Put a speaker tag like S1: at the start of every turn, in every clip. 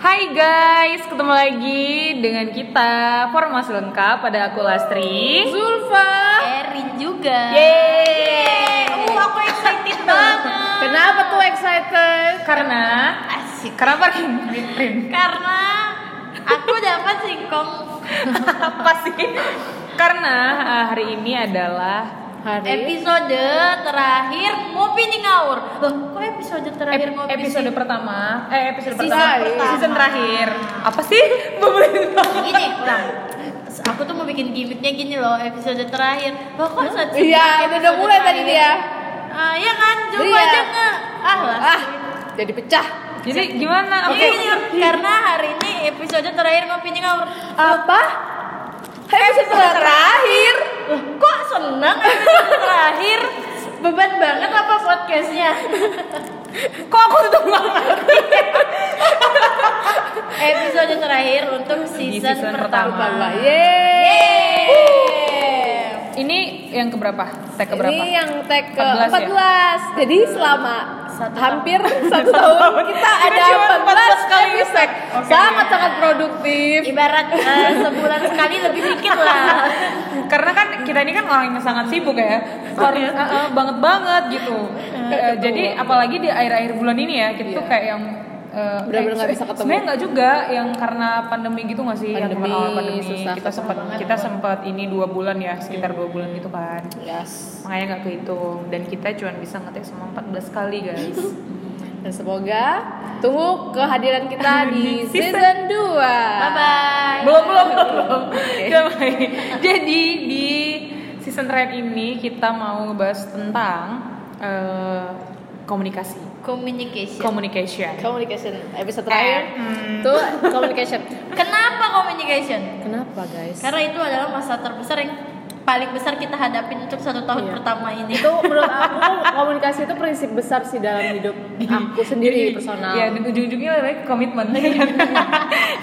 S1: Hai guys, ketemu lagi dengan kita Formas Lengkap ada aku Lastri.
S2: Zulfa.
S3: Erin juga.
S1: Yeay.
S3: Uh, aku excited banget.
S2: Kenapa tuh excited?
S1: Karena
S3: Asik.
S1: karena parking Rin.
S3: Karena aku dapat singkong
S1: Apa sih? Karena eh, hari ini adalah
S2: Hari
S3: episode terakhir ngopi di ngaur. Loh, kok episode terakhir
S1: ep-
S3: ngopi
S1: episode
S3: di-
S1: pertama, eh episode
S3: Season
S1: pertama,
S3: pertama.
S1: season terakhir. Apa sih? Bebelin banget.
S3: Gini, ulang. Aku tuh mau bikin gimmicknya gini loh, episode terakhir. Loh, kok saat
S2: Iya, udah- udah mulai tadi dia.
S3: Ah, iya kan, coba
S2: Iya.
S3: aja nge. Ah, lah.
S2: Ah, jadi pecah.
S1: Jadi
S2: Ah,
S1: gimana? Oke.
S3: Iya, iya. karena hari ini episode terakhir ngopi di ngaur.
S2: Apa? Episode terakhir.
S3: Loh, kok seneng episode terakhir? Beban banget apa podcastnya?
S1: Kok aku tuh nggak ngerti?
S3: episode terakhir untuk
S1: Di
S3: season,
S1: season
S3: pertama.
S1: pertama.
S2: Ah. Yeay.
S1: Ini yang keberapa? Tag keberapa?
S2: Ini yang tag
S1: 14
S2: ke
S1: ya?
S2: 14. Jadi selama
S3: Satu
S2: hampir satu tahun kita ada
S1: cuma 14
S2: 14
S1: kali
S2: episode.
S1: Oke.
S2: Sangat-sangat produktif.
S3: Ibarat eh, sebulan sekali lebih dikit lah.
S1: karena kan kita ini kan orang yang sangat sibuk
S2: Oh,
S1: ya
S2: iya.
S1: banget banget gitu Eh, jadi apalagi di akhir-akhir bulan ini ya kita tuh kayak yang eh,
S2: Benar-benar
S1: eh,
S2: Iya. nggak bisa ketemu.
S1: sebenarnya nggak juga yang karena pandemi gitu nggak sih yang
S2: Pandemi,
S1: kemarin awal pandemi
S2: susah
S1: kita
S2: ketemu Iya.
S1: sempat kita sempat ini dua bulan ya sekitar dua bulan gitu kan
S2: Yes.
S1: makanya nggak kehitung dan kita cuma bisa ngetik sama 14 kali guys
S2: Dan semoga tunggu kehadiran kita di season 2.
S3: Bye bye.
S1: belum belum belum, belum. Jangan main. jadi di season terakhir ini kita mau ngebahas tentang eh, komunikasi
S3: Communication.
S1: communication
S2: Communication episode Iya. terakhir
S1: Hmm.
S2: tuh communication.
S3: Kenapa communication?
S2: Kenapa guys?
S3: Karena itu adalah masalah terbesar yang paling besar kita hadapin untuk satu tahun
S2: Iya.
S3: pertama ini.
S2: itu menurut aku komunikasi itu prinsip besar sih dalam hidup hmm, aku sendiri personal.
S1: ya dan ujung-ujungnya lebih baik komitmen ya kan?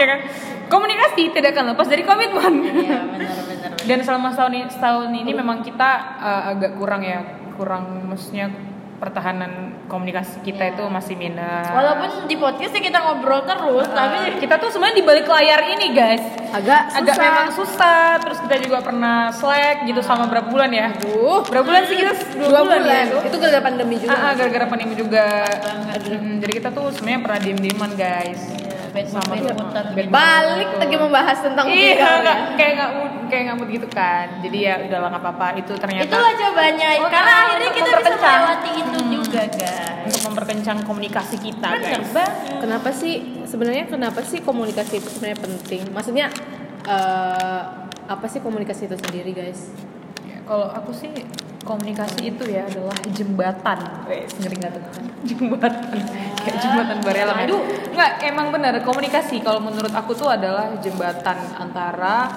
S1: Ya kan? komunikasi tidak akan lepas dari komitmen
S3: Iya benar-benar.
S1: dan selama setahun ini, setahun ini memang kita eh, agak kurang ya kurang maksudnya pertahanan komunikasi
S2: Iya.
S1: kita itu masih minus
S3: Walaupun di podcastnya kita ngobrol terus, tapi
S1: tapi kita tuh sebenarnya di balik layar ini guys
S2: Agak susah.
S1: agak memang susah terus kita juga pernah slack gitu sama berapa bulan ya
S2: Duh,
S1: berapa bulan sih kita
S2: dua, bulan. ya? Itu gara-gara pandemi juga.
S1: Ah, ah, gara-gara pandemi juga Hmm, jadi kita tuh sebenarnya pernah diem-dieman guys
S3: sama ah.
S1: Bad
S2: Balik lagi membahas tentang
S1: iya
S2: pernikahan.
S1: nggak kayak nggak mood- kayak nggak mood gitu kan jadi ya udahlah nggak apa-apa itu ternyata
S3: Itulah jawabannya.
S1: kan. Oh,
S3: Karena
S1: karena
S3: akhirnya
S1: untuk
S3: kita bisa
S1: memperkencang. Hmm.
S3: melewati itu juga, guys.
S1: untuk memperkencang komunikasi kita
S3: Bener
S1: guys
S3: banget.
S2: Kenapa sih sebenarnya kenapa sih komunikasi itu sebenarnya penting? Maksudnya eh, apa sih komunikasi itu sendiri guys?
S1: Ya, kalau aku sih komunikasi itu ya adalah jembatan Wes, ngeri nggak tuh jembatan kayak jembatan barela aduh nggak emang benar komunikasi kalau menurut aku tuh adalah jembatan antara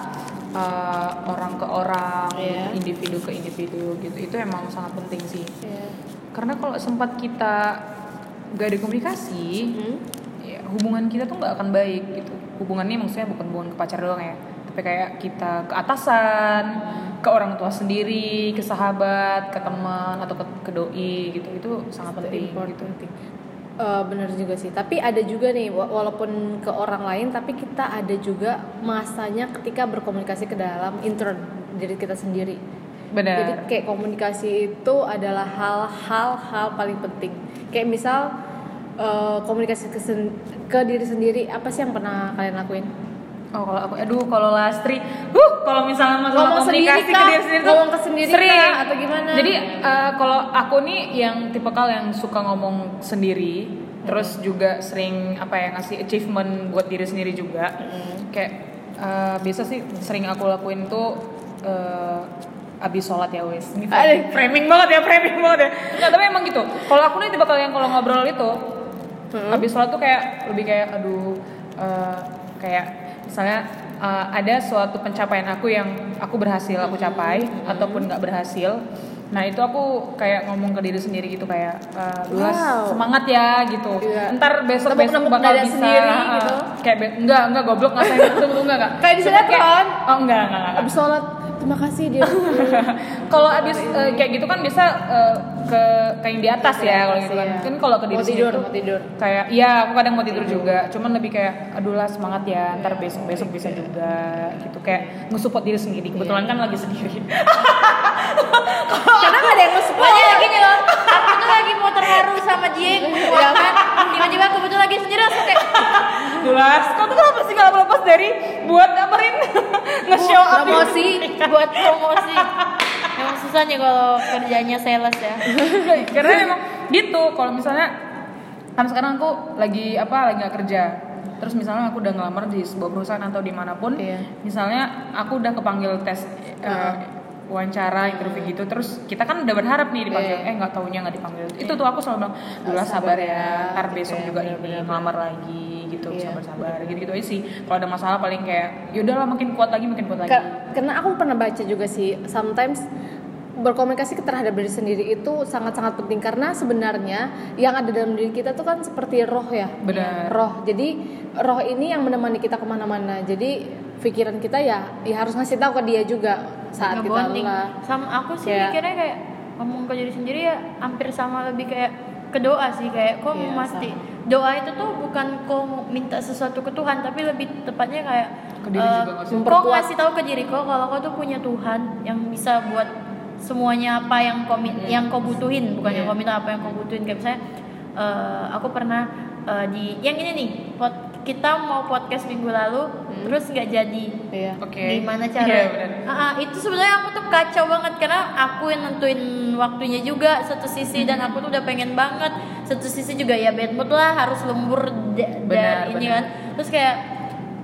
S1: uh, orang ke orang
S2: Iya.
S1: individu ke individu gitu itu emang sangat penting sih karena kalau sempat kita gak ada komunikasi
S2: Hmm?
S1: ya, hubungan kita tuh nggak akan baik gitu hubungannya maksudnya bukan hubungan ke pacar doang ya tapi kayak kita ke atasan ke orang tua sendiri ke sahabat ke teman atau ke, ke doi gitu itu sangat penting gitu
S2: penting. Eh, bener juga sih tapi ada juga nih wa- walaupun ke orang lain tapi kita ada juga masanya ketika berkomunikasi ke dalam intern diri kita sendiri
S3: Iya.
S2: jadi
S1: benar
S2: kayak komunikasi itu adalah hal-hal hal paling penting kayak misal eh, komunikasi ke, sen- ke diri sendiri apa sih yang pernah kalian lakuin
S1: oh kalau aku aduh kalau lastri huh kalau misalnya masalah
S2: Ngomong sendiri
S1: komunikasi
S2: kah?
S1: ke diri sendiri tuh
S2: Ngomong ke sendiri
S1: sering.
S2: kah? Atau gimana?
S1: jadi eh, kalau aku nih yang tipikal yang suka ngomong sendiri terus juga sering apa ya ngasih achievement buat diri sendiri juga
S2: Mm-hmm.
S1: kayak eh, biasa sih sering aku lakuin tuh eh, abis sholat ya wes ini framing, framing banget ya framing banget ya nggak tapi emang gitu kalau aku nih tipikal yang kalau ngobrol itu abis sholat tuh kayak lebih kayak aduh eh, kayak misalnya eh, ada suatu pencapaian aku yang aku berhasil aku capai ataupun nggak berhasil Nah itu aku kayak ngomong ke diri sendiri gitu kayak eh, Dulas
S2: Wow.
S1: semangat ya gitu.
S2: Iya.
S1: Ntar besok besok
S2: Tepuk-tepuk
S1: bakal
S2: dada
S1: bisa.
S2: sendiri
S1: eh,
S2: gitu.
S1: Kayak be- enggak enggak goblok nggak sayang itu enggak enggak.
S2: Kayak di
S1: Cuma
S3: kan?
S2: sinetron.
S1: Oh enggak enggak enggak.
S2: Abis sholat, terima kasih dia.
S1: Kalau abis eh, kayak gitu kan bisa eh, ke ke yang di atas ya kalau gitu kan.
S2: Iya.
S1: Kan kalau ke diri
S2: mau
S1: sendiri
S2: tidur,
S1: tuh
S2: mau tidur.
S1: kayak iya aku kadang mau tidur juga cuman lebih kayak aduh lah semangat ya ntar besok besok bisa juga gitu kayak nge-support diri sendiri kebetulan kan lagi sendiri
S2: Karena gak ada yang nge-support.
S3: Makanya gini loh, aku tuh lagi mau terharu sama Jing,
S2: Iya
S3: ya kan? Tiba-tiba aku betul lagi sendiri langsung kayak
S1: jelas kau tuh kenapa sih nggak lepas dari buat apa Rin nge-show up
S3: promosi buat promosi. Emang susah nih kalau kerjanya sales ya.
S1: Iya, karena emang gitu kalau misalnya kan sekarang aku lagi apa lagi nggak kerja terus misalnya aku udah ngelamar di sebuah perusahaan atau dimanapun
S2: Iya.
S1: misalnya aku udah kepanggil tes eh, wawancara interview gitu terus kita kan udah berharap nih dipanggil eh nggak taunya nggak dipanggil itu tuh aku selalu bilang dulu sabar ya ntar besok juga ini ngelamar lagi gitu
S2: Iya.
S1: sabar sabar gitu gitu aja sih kalau ada masalah paling kayak yaudahlah makin kuat lagi makin kuat lagi
S2: Ke- karena aku pernah baca juga sih sometimes berkomunikasi ke- terhadap diri sendiri itu sangat-sangat penting karena sebenarnya yang ada dalam diri kita tuh kan seperti roh ya
S1: Benar.
S2: roh jadi roh ini yang menemani kita kemana-mana jadi pikiran kita ya, ya harus ngasih tahu ke dia juga saat kita
S3: Ngebonding.
S2: lelah
S3: Sama aku sih
S2: Kayak-
S3: mikirnya kayak ngomong ke diri sendiri ya hampir sama lebih kayak ke doa sih kayak kok
S2: Iya,
S3: mesti
S2: sama.
S3: doa itu tuh bukan kok minta sesuatu ke Tuhan tapi lebih tepatnya kayak
S1: Ke diri
S3: eh,
S1: juga nggak
S2: sih?
S3: kok
S2: Memperkuat.
S3: ngasih tahu ke diri kok kalau kau tuh punya Tuhan yang bisa buat semuanya apa yang kau min-
S2: Iya.
S3: yang kau butuhin bukan yang kau minta apa yang kau butuhin kayak misalnya eh, aku pernah eh, di yang ini nih pod- kita mau podcast minggu lalu
S2: Hmm.
S3: terus nggak jadi
S2: iya
S1: oke
S3: gimana
S1: Iya,
S3: cara
S1: benar.
S3: Ah, ah, itu sebenarnya aku tuh kacau banget karena aku yang nentuin waktunya juga satu sisi dan aku tuh udah pengen banget satu sisi juga ya bad mood lah harus lembur da-
S1: Benar,
S3: dari ini
S1: benar.
S3: kan terus kayak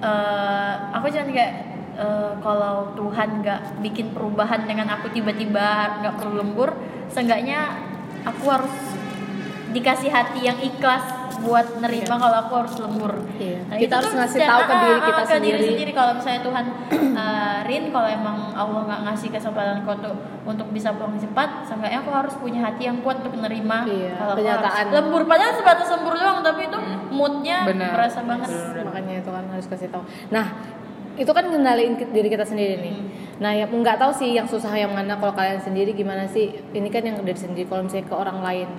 S3: eh, aku jangan kayak eh, kalau Tuhan nggak bikin perubahan dengan aku tiba-tiba nggak perlu lembur seenggaknya aku harus dikasih hati yang ikhlas buat nerima kalau aku harus lembur
S2: Iya.
S3: Nah,
S2: Kita
S3: itu
S2: harus
S3: tuh
S2: ngasih
S3: dan-
S2: tahu ke
S3: ah,
S2: diri
S3: ah,
S2: kita
S3: ke diri
S2: sendiri.
S3: sendiri kalau misalnya Tuhan eh, Rin kalau emang Allah nggak ngasih kesempatan kau tuh untuk bisa pulang cepat seenggaknya aku harus punya hati yang kuat untuk menerima
S2: Iya,
S3: kalau aku
S2: kenyataan.
S3: harus lembur padahal sebatas lembur doang tapi itu moodnya
S1: Hmm. Benar.
S3: berasa banget
S2: makanya itu kan harus kasih tahu nah itu kan ngendaliin ki- diri kita sendiri nih
S1: Hmm.
S2: nah ya nggak tahu sih yang susah yang mana kalau kalian sendiri gimana sih ini kan yang dari sendiri kalau misalnya ke orang lain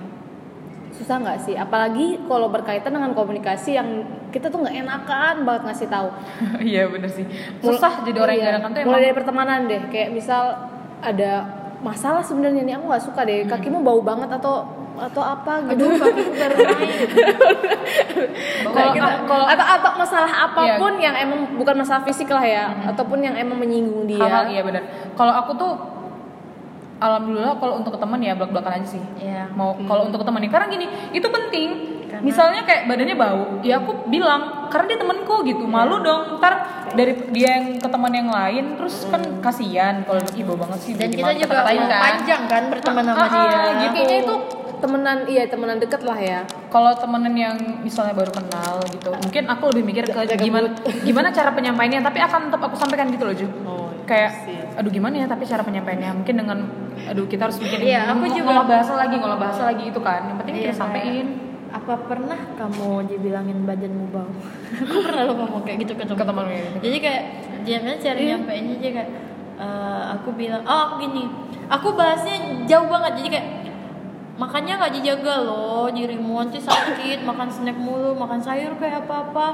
S2: susah nggak sih apalagi kalau berkaitan dengan komunikasi yang kita tuh nggak enakan banget ngasih tahu
S1: iya bener sih
S2: Mul-
S1: susah jadi orang
S2: iya.
S1: yang gak tuh
S2: mulai
S1: emang
S2: dari pertemanan deh kayak misal ada masalah sebenarnya nih aku nggak suka deh
S1: Hmm.
S2: kakimu bau banget atau atau apa gitu
S3: baru
S2: kalau kalau- atau atau masalah
S1: Iya.
S2: apapun yang emang bukan masalah fisik lah ya ataupun yang emang menyinggung dia
S1: hal-hal iya benar kalau aku tuh alhamdulillah kalau untuk ke teman ya belak-belakan aja sih Nah,
S3: Iya.
S1: mau kalau untuk ke teman nih karena gini itu penting misalnya kayak badannya bau ya aku bilang karena dia temanku gitu malu dong ntar dari dia yang ke teman yang lain terus kan kasihan kalau ih bau banget sih
S3: dan
S1: jadi
S3: kita
S1: malu
S3: juga
S1: dikata-katain
S3: mau panjang kan berteman sama
S1: Ah, ah,
S3: dia
S1: gitu.
S2: kayaknya itu temenan iya temenan deket lah ya
S1: kalau temenan yang misalnya baru kenal gitu mungkin aku lebih mikir ke gimana gimana cara penyampaiannya tapi akan tetap aku sampaikan gitu loh Ju
S3: Oh, iya
S1: kayak aduh gimana ya tapi cara penyampaiannya mungkin dengan aduh kita harus bikin
S3: Iya, aku
S1: ng-
S3: juga-
S1: ngolah bahasa lagi ngolah bahasa lagi itu kan yang penting
S3: Iya,
S1: kita sampein
S3: apa pernah kamu dibilangin badanmu bau? aku pernah lo ngomong kayak gitu ke temen
S1: Ke temen lu ya?
S3: jadi kayak dia sebenarnya cara nyampeinnya dia kayak eh, aku bilang oh aku gini aku bahasnya jauh banget jadi kayak makannya nggak dijaga loh dirimu nanti sakit makan snack mulu makan sayur kayak apa apa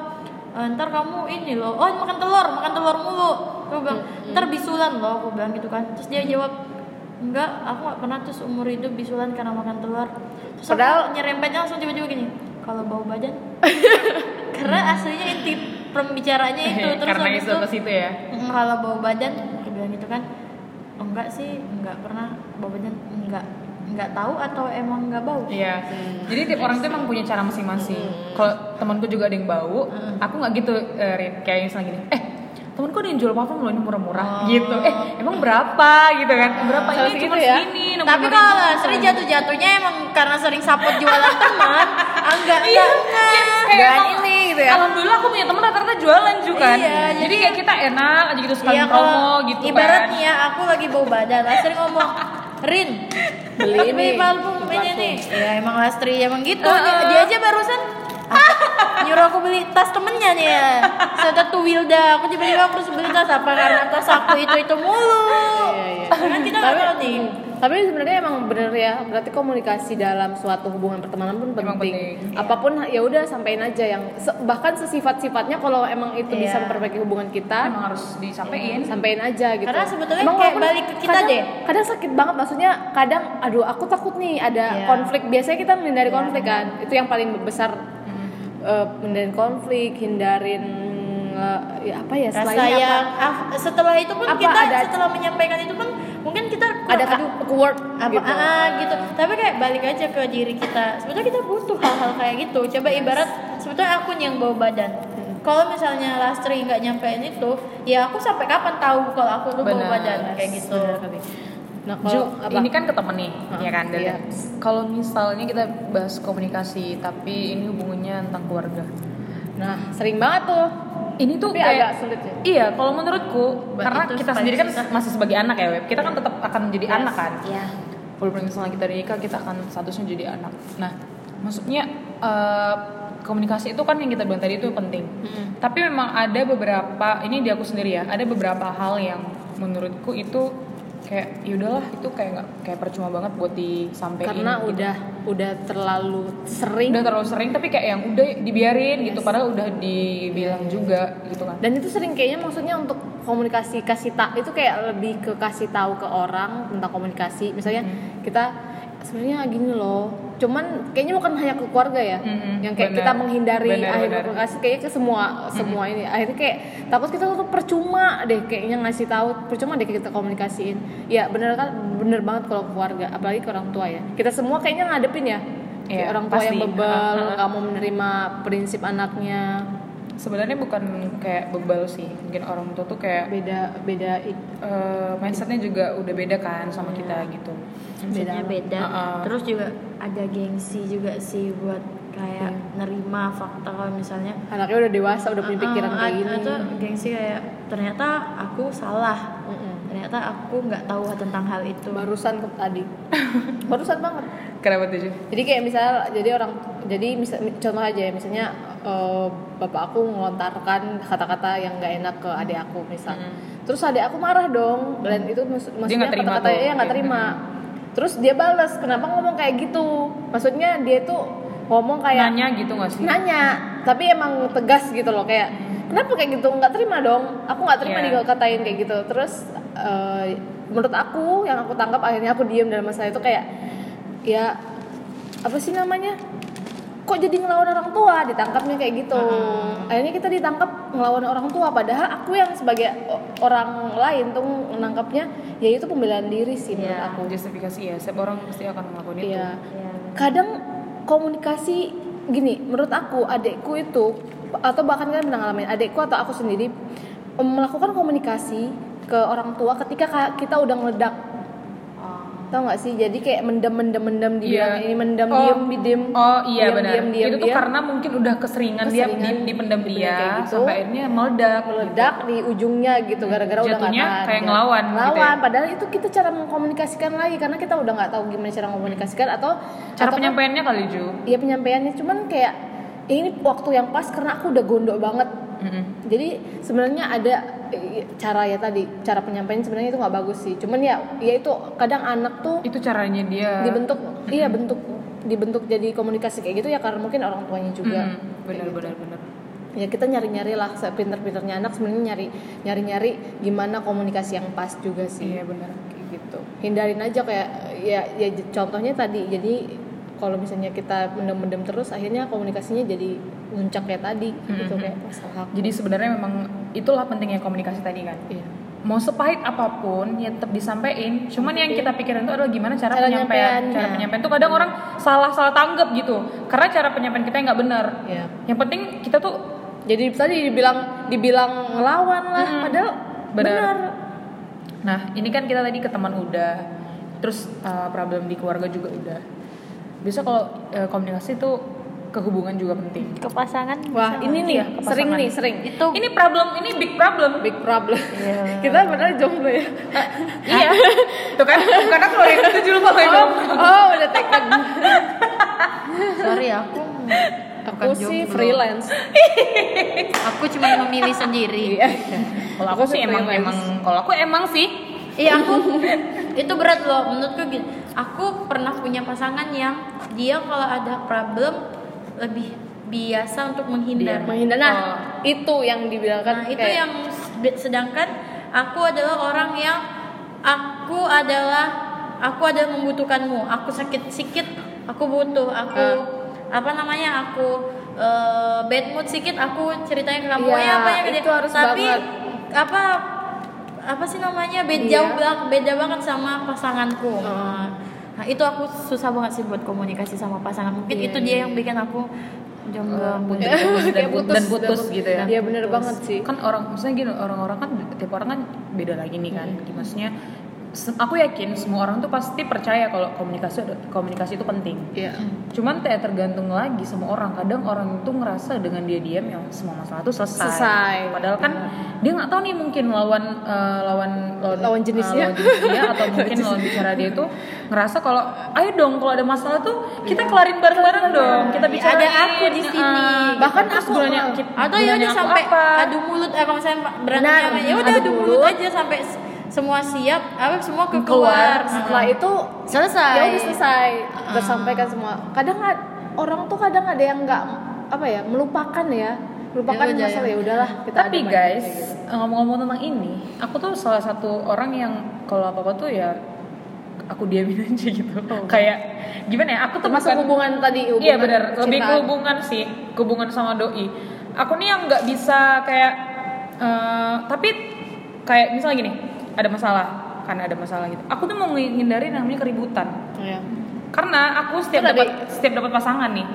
S3: ntar kamu ini loh oh makan telur makan telur mulu aku bilang ntar bisulan loh aku bilang gitu kan terus dia jawab enggak aku nggak pernah terus umur hidup bisulan karena makan telur terus
S2: Padahal-
S3: padahal nyerempetnya langsung tiba-tiba gini kalau bau badan karena aslinya inti pembicaraannya itu terus
S1: karena
S3: habis
S1: itu ke situ ya
S3: "Mm, kalau bau badan aku bilang gitu kan "Oh, enggak sih enggak pernah bau badan enggak enggak tahu atau emang enggak bau
S1: Iya. Jadi tiap orang tuh emang punya cara masing-masing. Kalau temanku juga ada yang bau, aku nggak gitu eh, Rin. kayak misalnya gini. Eh, temanku ada yang jual parfum loh ini murah-murah gitu. Eh, emang berapa gitu kan? Berapa ini
S2: Harus gitu
S1: cuma
S2: ya.
S1: segini. nomor
S3: tapi
S1: lima
S3: kalau
S1: ribu."
S3: nggak sering jatuh-jatuhnya emang karena sering support jualan teman ah, enggak
S1: Iya,
S3: enggak enggak
S1: kayak
S2: Jualan
S1: emang-
S2: ini gitu ya.
S1: Alhamdulillah aku punya teman rata-rata jualan juga kan.
S3: Iya,
S1: jadi, kayak kita enak aja gitu sekali
S3: Iya
S1: promo
S3: kalau
S1: gitu
S3: ibarat
S1: kan.
S3: nih ya aku lagi bau badan, lah sering ngomong Rin
S2: Beli ini.
S3: beli parfum ini
S2: Parfum.
S3: nih ya emang Lastri emang gitu
S1: Heeh.
S3: dia aja barusan aku- nyuruh aku beli tas temennya nih ya Setelah tuh Wilda aku tiba-tiba aku harus beli tas apa karena tas aku itu itu mulu
S2: Iya, iya. hmm.
S3: kan kita nggak tahu nih
S2: Tapi sebenarnya emang bener ya, berarti komunikasi dalam suatu hubungan pertemanan pun penting.
S1: Emang penting. iya.
S2: Apapun ya udah sampein aja yang se- bahkan sesifat-sifatnya kalau emang itu bisa
S3: Iya.
S2: memperbaiki hubungan kita,
S1: emang harus disampaikan
S2: sampein aja gitu.
S3: Karena sebetulnya
S2: Emang
S3: kayak
S2: walaupun
S3: balik ke kita
S2: kadang,
S3: deh.
S2: Kadang sakit banget maksudnya kadang aduh aku takut nih ada
S3: Iya.
S2: konflik. Biasanya kita menghindari
S3: Iya, Mm-hmm.
S2: konflik kan. Itu yang paling besar eh, menghindari konflik, hindarin eh, ya apa ya
S3: rasa
S2: selainnya apa?
S3: yang af- setelah itu pun
S2: Apa
S3: kita
S2: ada-
S3: setelah menyampaikan itu pun mungkin kita kurang-
S2: ada
S3: aduh,
S2: ke keyword
S3: apa
S2: gitu.
S3: gitu. gitu tapi kayak balik aja ke diri kita sebetulnya kita butuh hal-hal kayak gitu coba ibarat sebetulnya aku nih yang bawa badan
S2: Hmm.
S3: kalau misalnya lastri nggak nyampein itu ya aku sampai kapan tahu kalau aku tuh
S1: Benar.
S3: bawa badan kayak gitu
S2: Benar kali. Nah,
S1: Ju,
S2: kalau apa?
S1: ini kan ke temen nih,
S2: Hah,
S1: ya kan? Del?
S2: iya.
S1: Kalau misalnya kita bahas komunikasi, tapi ini hubungannya tentang keluarga.
S2: Nah, sering banget tuh.
S1: Ini tuh
S2: Tapi agak
S1: kayak
S2: sulit ya.
S1: Iya, kalau menurutku,
S3: Ba-
S1: karena
S3: itu
S1: kita
S3: paling
S1: sendiri kan
S3: susah.
S1: masih sebagai anak ya, Web. Kita kan tetap akan menjadi
S3: Yes.
S1: anak kan.
S3: Iya.
S1: Walaupun misalnya kita nikah, kita akan statusnya jadi anak. Nah, maksudnya eh, komunikasi itu kan yang kita bilang tadi itu penting. Tapi memang ada beberapa, ini di aku sendiri ya, ada beberapa hal yang menurutku itu kayak ya udahlah itu kayak nggak kayak percuma banget buat disampaikan
S2: Karena udah udah terlalu sering
S1: udah terlalu sering tapi kayak yang udah dibiarin gitu padahal udah dibilang juga gitu kan
S2: dan itu sering kayaknya maksudnya untuk komunikasi kasih tak itu kayak lebih ke kasih tahu ke orang tentang komunikasi misalnya
S1: Hmm.
S2: kita sebenarnya gini loh cuman kayaknya bukan hanya ke keluarga ya
S1: Mhm,
S2: yang kayak
S1: benar.
S2: kita menghindari
S1: Benar,
S2: akhirnya
S1: benar. Hmm.
S2: komunikasi kayaknya ke semua semua ini akhirnya kayak takut kita tuh percuma deh kayaknya ngasih tahu percuma deh kita komunikasiin ya bener kan bener banget kalau ke keluarga apalagi ke orang tua ya kita semua kayaknya ngadepin ya Kayak
S1: Iya,
S2: orang tua yang
S1: pasti.
S2: bebal
S1: Heeh.
S2: kamu menerima prinsip anaknya
S1: sebenarnya bukan kayak bebal sih mungkin orang tua tuh kayak
S2: beda beda ik-
S1: eh, mindsetnya juga udah beda kan sama kita gitu
S3: Maksudnya
S2: Beda.
S3: beda
S1: Uh-uh.
S3: terus juga ada gengsi juga sih buat kayak
S2: Hmm.
S3: nerima fakta kalau misalnya
S2: anaknya udah dewasa udah punya pikiran
S3: "Ah, ah,
S2: kayak
S3: ah,"
S2: gini
S3: itu gengsi kayak ternyata aku salah
S2: Mm-mm.
S3: ternyata aku nggak tahu tentang hal itu
S2: barusan ke tadi barusan banget
S1: kenapa tuh Ju?
S2: jadi kayak misalnya jadi orang jadi misal contoh aja ya misalnya eh, bapak aku melontarkan kata-kata yang nggak enak ke adik aku misal terus adik aku marah dong dan itu mus- maksudnya
S1: nggak terima
S2: kata-kata
S1: tuh.
S2: ya nggak
S1: Iya,
S2: terima terus dia balas kenapa ngomong kayak gitu maksudnya dia tuh ngomong kayak
S1: nanya gitu gak sih
S2: nanya tapi emang tegas gitu loh kayak kenapa kayak gitu nggak terima dong aku nggak terima
S1: Iya.
S2: dikatain kayak gitu terus eh, menurut aku yang aku tangkap akhirnya aku diem dalam masalah itu kayak ya apa sih namanya kok jadi ngelawan orang tua ditangkapnya kayak gitu akhirnya kita ditangkap ngelawan orang tua padahal aku yang sebagai o- orang lain tuh menangkapnya ya itu pembelaan diri sih menurut
S3: Iya.
S2: aku
S1: justifikasi ya setiap orang pasti akan ngelakuin itu
S2: iya
S3: Iya.
S2: kadang komunikasi gini menurut aku adekku itu atau bahkan kalian pernah ngalamin adekku atau aku sendiri em, melakukan komunikasi ke orang tua ketika ka- kita udah meledak
S3: Oh.
S2: tau nggak sih jadi kayak mendem mendem mendem dibilang
S1: Iya.
S2: ini mendem
S1: Oh.
S2: diem diem
S1: Oh iya
S2: diem,
S1: benar.
S2: diem, diem,
S1: itu tuh
S2: diem.
S1: karena mungkin udah keseringan, dia
S2: Keseringan
S1: di- dipendam
S2: dipendam
S1: dia
S2: kayak gitu.
S1: sampai akhirnya meledak.
S2: meledak di ujungnya gitu gara-gara udah nggak
S1: Jatuhnya
S2: tahan.
S1: kayak
S2: Ya,
S1: ngelawan gitu
S2: ngelawan
S1: ya.
S2: padahal itu kita cara mengkomunikasikan lagi karena kita udah nggak tahu gimana cara mengkomunikasikan atau
S1: Cara
S2: atau kan-
S1: penyampaiannya kali Ju.
S2: ya penyampaiannya cuman kayak ini waktu yang pas karena aku udah gondok banget
S1: Mm-mm.
S2: jadi sebenarnya ada eh, cara ya tadi cara penyampaian sebenarnya itu nggak bagus sih cuman ya ya itu kadang anak tuh
S1: Itu caranya dia.
S2: dibentuk iya bentuk dibentuk jadi komunikasi kayak gitu ya karena mungkin orang tuanya juga
S1: Mm-mm. Benar benar benar.
S2: ya kita nyari nyari lah sepinter-pinternya anak sebenarnya nyari nyari nyari gimana komunikasi yang pas juga sih
S1: Iya benar.
S2: Kayak gitu hindarin aja kayak ya ya j- contohnya tadi jadi kalau misalnya kita mendem-mendem terus akhirnya komunikasinya jadi muncak kayak tadi
S1: Mhm.
S2: gitu kayak masalah aku.
S1: Jadi sebenarnya memang itulah pentingnya komunikasi tadi kan.
S2: Iya.
S1: Mau sepahit apapun ya tetap disampaikan. Cuman yang kita pikirin itu adalah gimana cara,
S2: Iya. Cara iya.
S1: penyampaian.
S2: nyampeannya.
S1: Cara penyampaian itu kadang orang salah-salah tanggap gitu. Karena cara penyampaian kita yang nggak benar.
S2: Iya.
S1: Yang penting kita tuh
S2: jadi tadi dibilang dibilang ngelawan lah
S1: Mhm.
S2: padahal
S1: Benar.
S2: benar
S1: Nah, ini kan kita tadi ke teman udah, eh, terus uh, problem di keluarga juga udah. Biasa kalau uh, eh, komunikasi tuh ke hubungan juga penting.
S3: ke pasangan
S2: Wah,
S3: bisa
S2: ini
S3: nggak?
S2: nih
S1: Iya, ke
S2: sering
S1: pasangan.
S2: nih, sering. Iya.
S3: itu
S1: Ini problem, ini big problem.
S2: Big problem. Kita benar jomblo ya.
S1: iya. Tuh kan, karena kalau yang ketujuh lupa gue
S2: Oh, oh, udah tekad.
S3: sorry aku bukan
S2: Aku sih
S3: jomblo.
S2: freelance.
S3: aku cuma memilih sendiri
S1: Kalau aku sih emang emang kalau aku emang sih
S3: Iya aku itu berat loh menurutku gitu. Aku pernah punya pasangan yang dia kalau ada problem lebih biasa untuk menghindar.
S2: Menghindar. Nah, itu yang
S3: Oh.
S2: dibilang
S3: Nah
S2: kan
S3: itu
S2: kayak-
S3: yang s- sedangkan aku adalah orang yang aku adalah aku ada membutuhkanmu. Aku sakit sikit aku butuh aku
S2: Ah.
S3: apa namanya aku eh, bad mood sikit aku ceritanya ke kamu
S2: Iya,
S3: ya apa yang
S2: itu harus
S3: tapi
S2: banget.
S3: apa apa sih namanya beda
S2: Iya.
S3: jauh bang- beda banget sama pasanganku
S2: Heeh.
S3: nah itu aku susah banget sih buat komunikasi sama pasangan mungkin
S2: Iya, Eh,
S3: itu dia yang bikin aku jomblo
S1: putus,
S3: mungkin.
S1: dan,
S2: Kayak
S1: Iya, putus, dan putus gitu ya.
S2: Iya bener banget sih.
S1: kan orang maksudnya gini orang-orang kan tiap orang kan beda lagi nih kan maksudnya se- aku yakin semua orang tuh pasti percaya kalau komunikasi komunikasi itu penting
S2: Iya.
S1: cuman teh tergantung lagi sama orang kadang orang itu ngerasa dengan dia diam yang semua masalah itu selesai,
S2: Selesai.
S1: padahal kan dia nggak tahu nih mungkin lawan eh, lawan eh,
S2: Lawan jenisnya.
S1: lawan jenis dia atau mungkin lawan bicara dia itu ngerasa kalau ayo dong kalau ada masalah tuh kita kelarin bareng-bareng dong kita
S3: Iya,
S1: bicara
S3: ada aku di sini.
S1: bahkan
S2: Terus
S1: aku
S2: gunanya-
S3: atau ya udah sampai adu mulut eh, kalau misalnya berantem
S2: Benar,
S3: sama- ya udah
S2: adu
S3: adu mulut aja sampai s- semua siap apa semua ke keluar
S2: Keluar. Setelah itu
S3: selesai
S2: ya udah selesai tersampaikan semua. Kadang ad- orang tuh kadang ada yang nggak apa ya melupakan ya
S3: Ya
S2: melupakan
S3: udah,
S2: masalah ya udahlah kita
S1: tapi
S2: ada
S1: guys
S2: baiknya gitu.
S1: ngomong-ngomong tentang ini aku tuh salah satu orang yang kalau apa apa tuh ya aku diamin aja gitu kayak gimana ya aku tuh
S2: Oh, termasuk
S1: bukan-
S2: hubungan tadi hubungan
S1: iya benar lebih ke
S2: percintaan.
S1: hubungan sih ke hubungan sama doi aku nih yang nggak bisa kayak eh, tapi kayak misalnya gini ada masalah karena ada masalah gitu aku tuh mau menghindari namanya keributan
S2: Iya.
S1: karena aku setiap
S2: Itu tadi-
S1: dapat setiap dapat pasangan nih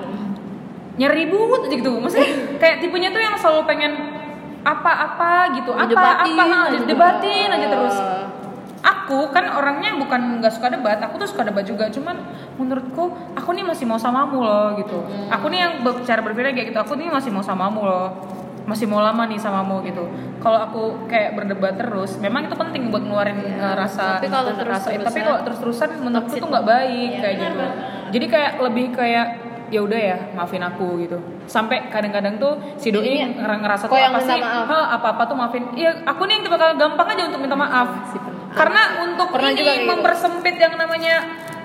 S1: nyari ribut aja gitu
S3: Hmm.
S1: maksudnya kayak tipenya tuh yang selalu pengen apa-apa gitu apa
S3: Didebatin
S1: apa
S3: aja. gitu.
S1: aja debatin aja terus
S2: Eh,
S1: aku kan orangnya bukan nggak suka debat aku tuh suka debat juga cuman menurutku aku nih masih mau samamu loh gitu
S3: Hmm.
S1: aku nih yang berbicara berbeda kayak gitu aku nih masih mau samamu loh masih mau lama nih samamu gitu kalau aku kayak berdebat terus memang itu penting buat ngeluarin eh, rasa
S3: Iya, Tapi kalau
S1: rasa Eh,
S3: terus-terusan-
S1: tapi kalau terus-terusan menurutku
S3: Toxic.
S1: tuh nggak baik
S3: Iya,
S1: kayak
S3: benar
S1: gitu
S3: banget.
S1: jadi kayak lebih kayak ya udah ya maafin aku gitu sampai kadang-kadang tuh si doi
S2: Jadinya,
S1: nger- ngerasa
S2: kok
S1: tuh
S2: yang
S1: apa
S2: Iya. minta
S1: sih
S2: maaf?
S1: "Hah, apa-apa tuh maafin iya aku nih yang tipe gampang aja untuk minta maaf
S2: si pernah.
S1: karena untuk
S2: Iya, Pernah
S1: ini
S2: juga kayak gitu.
S1: mempersempit yang namanya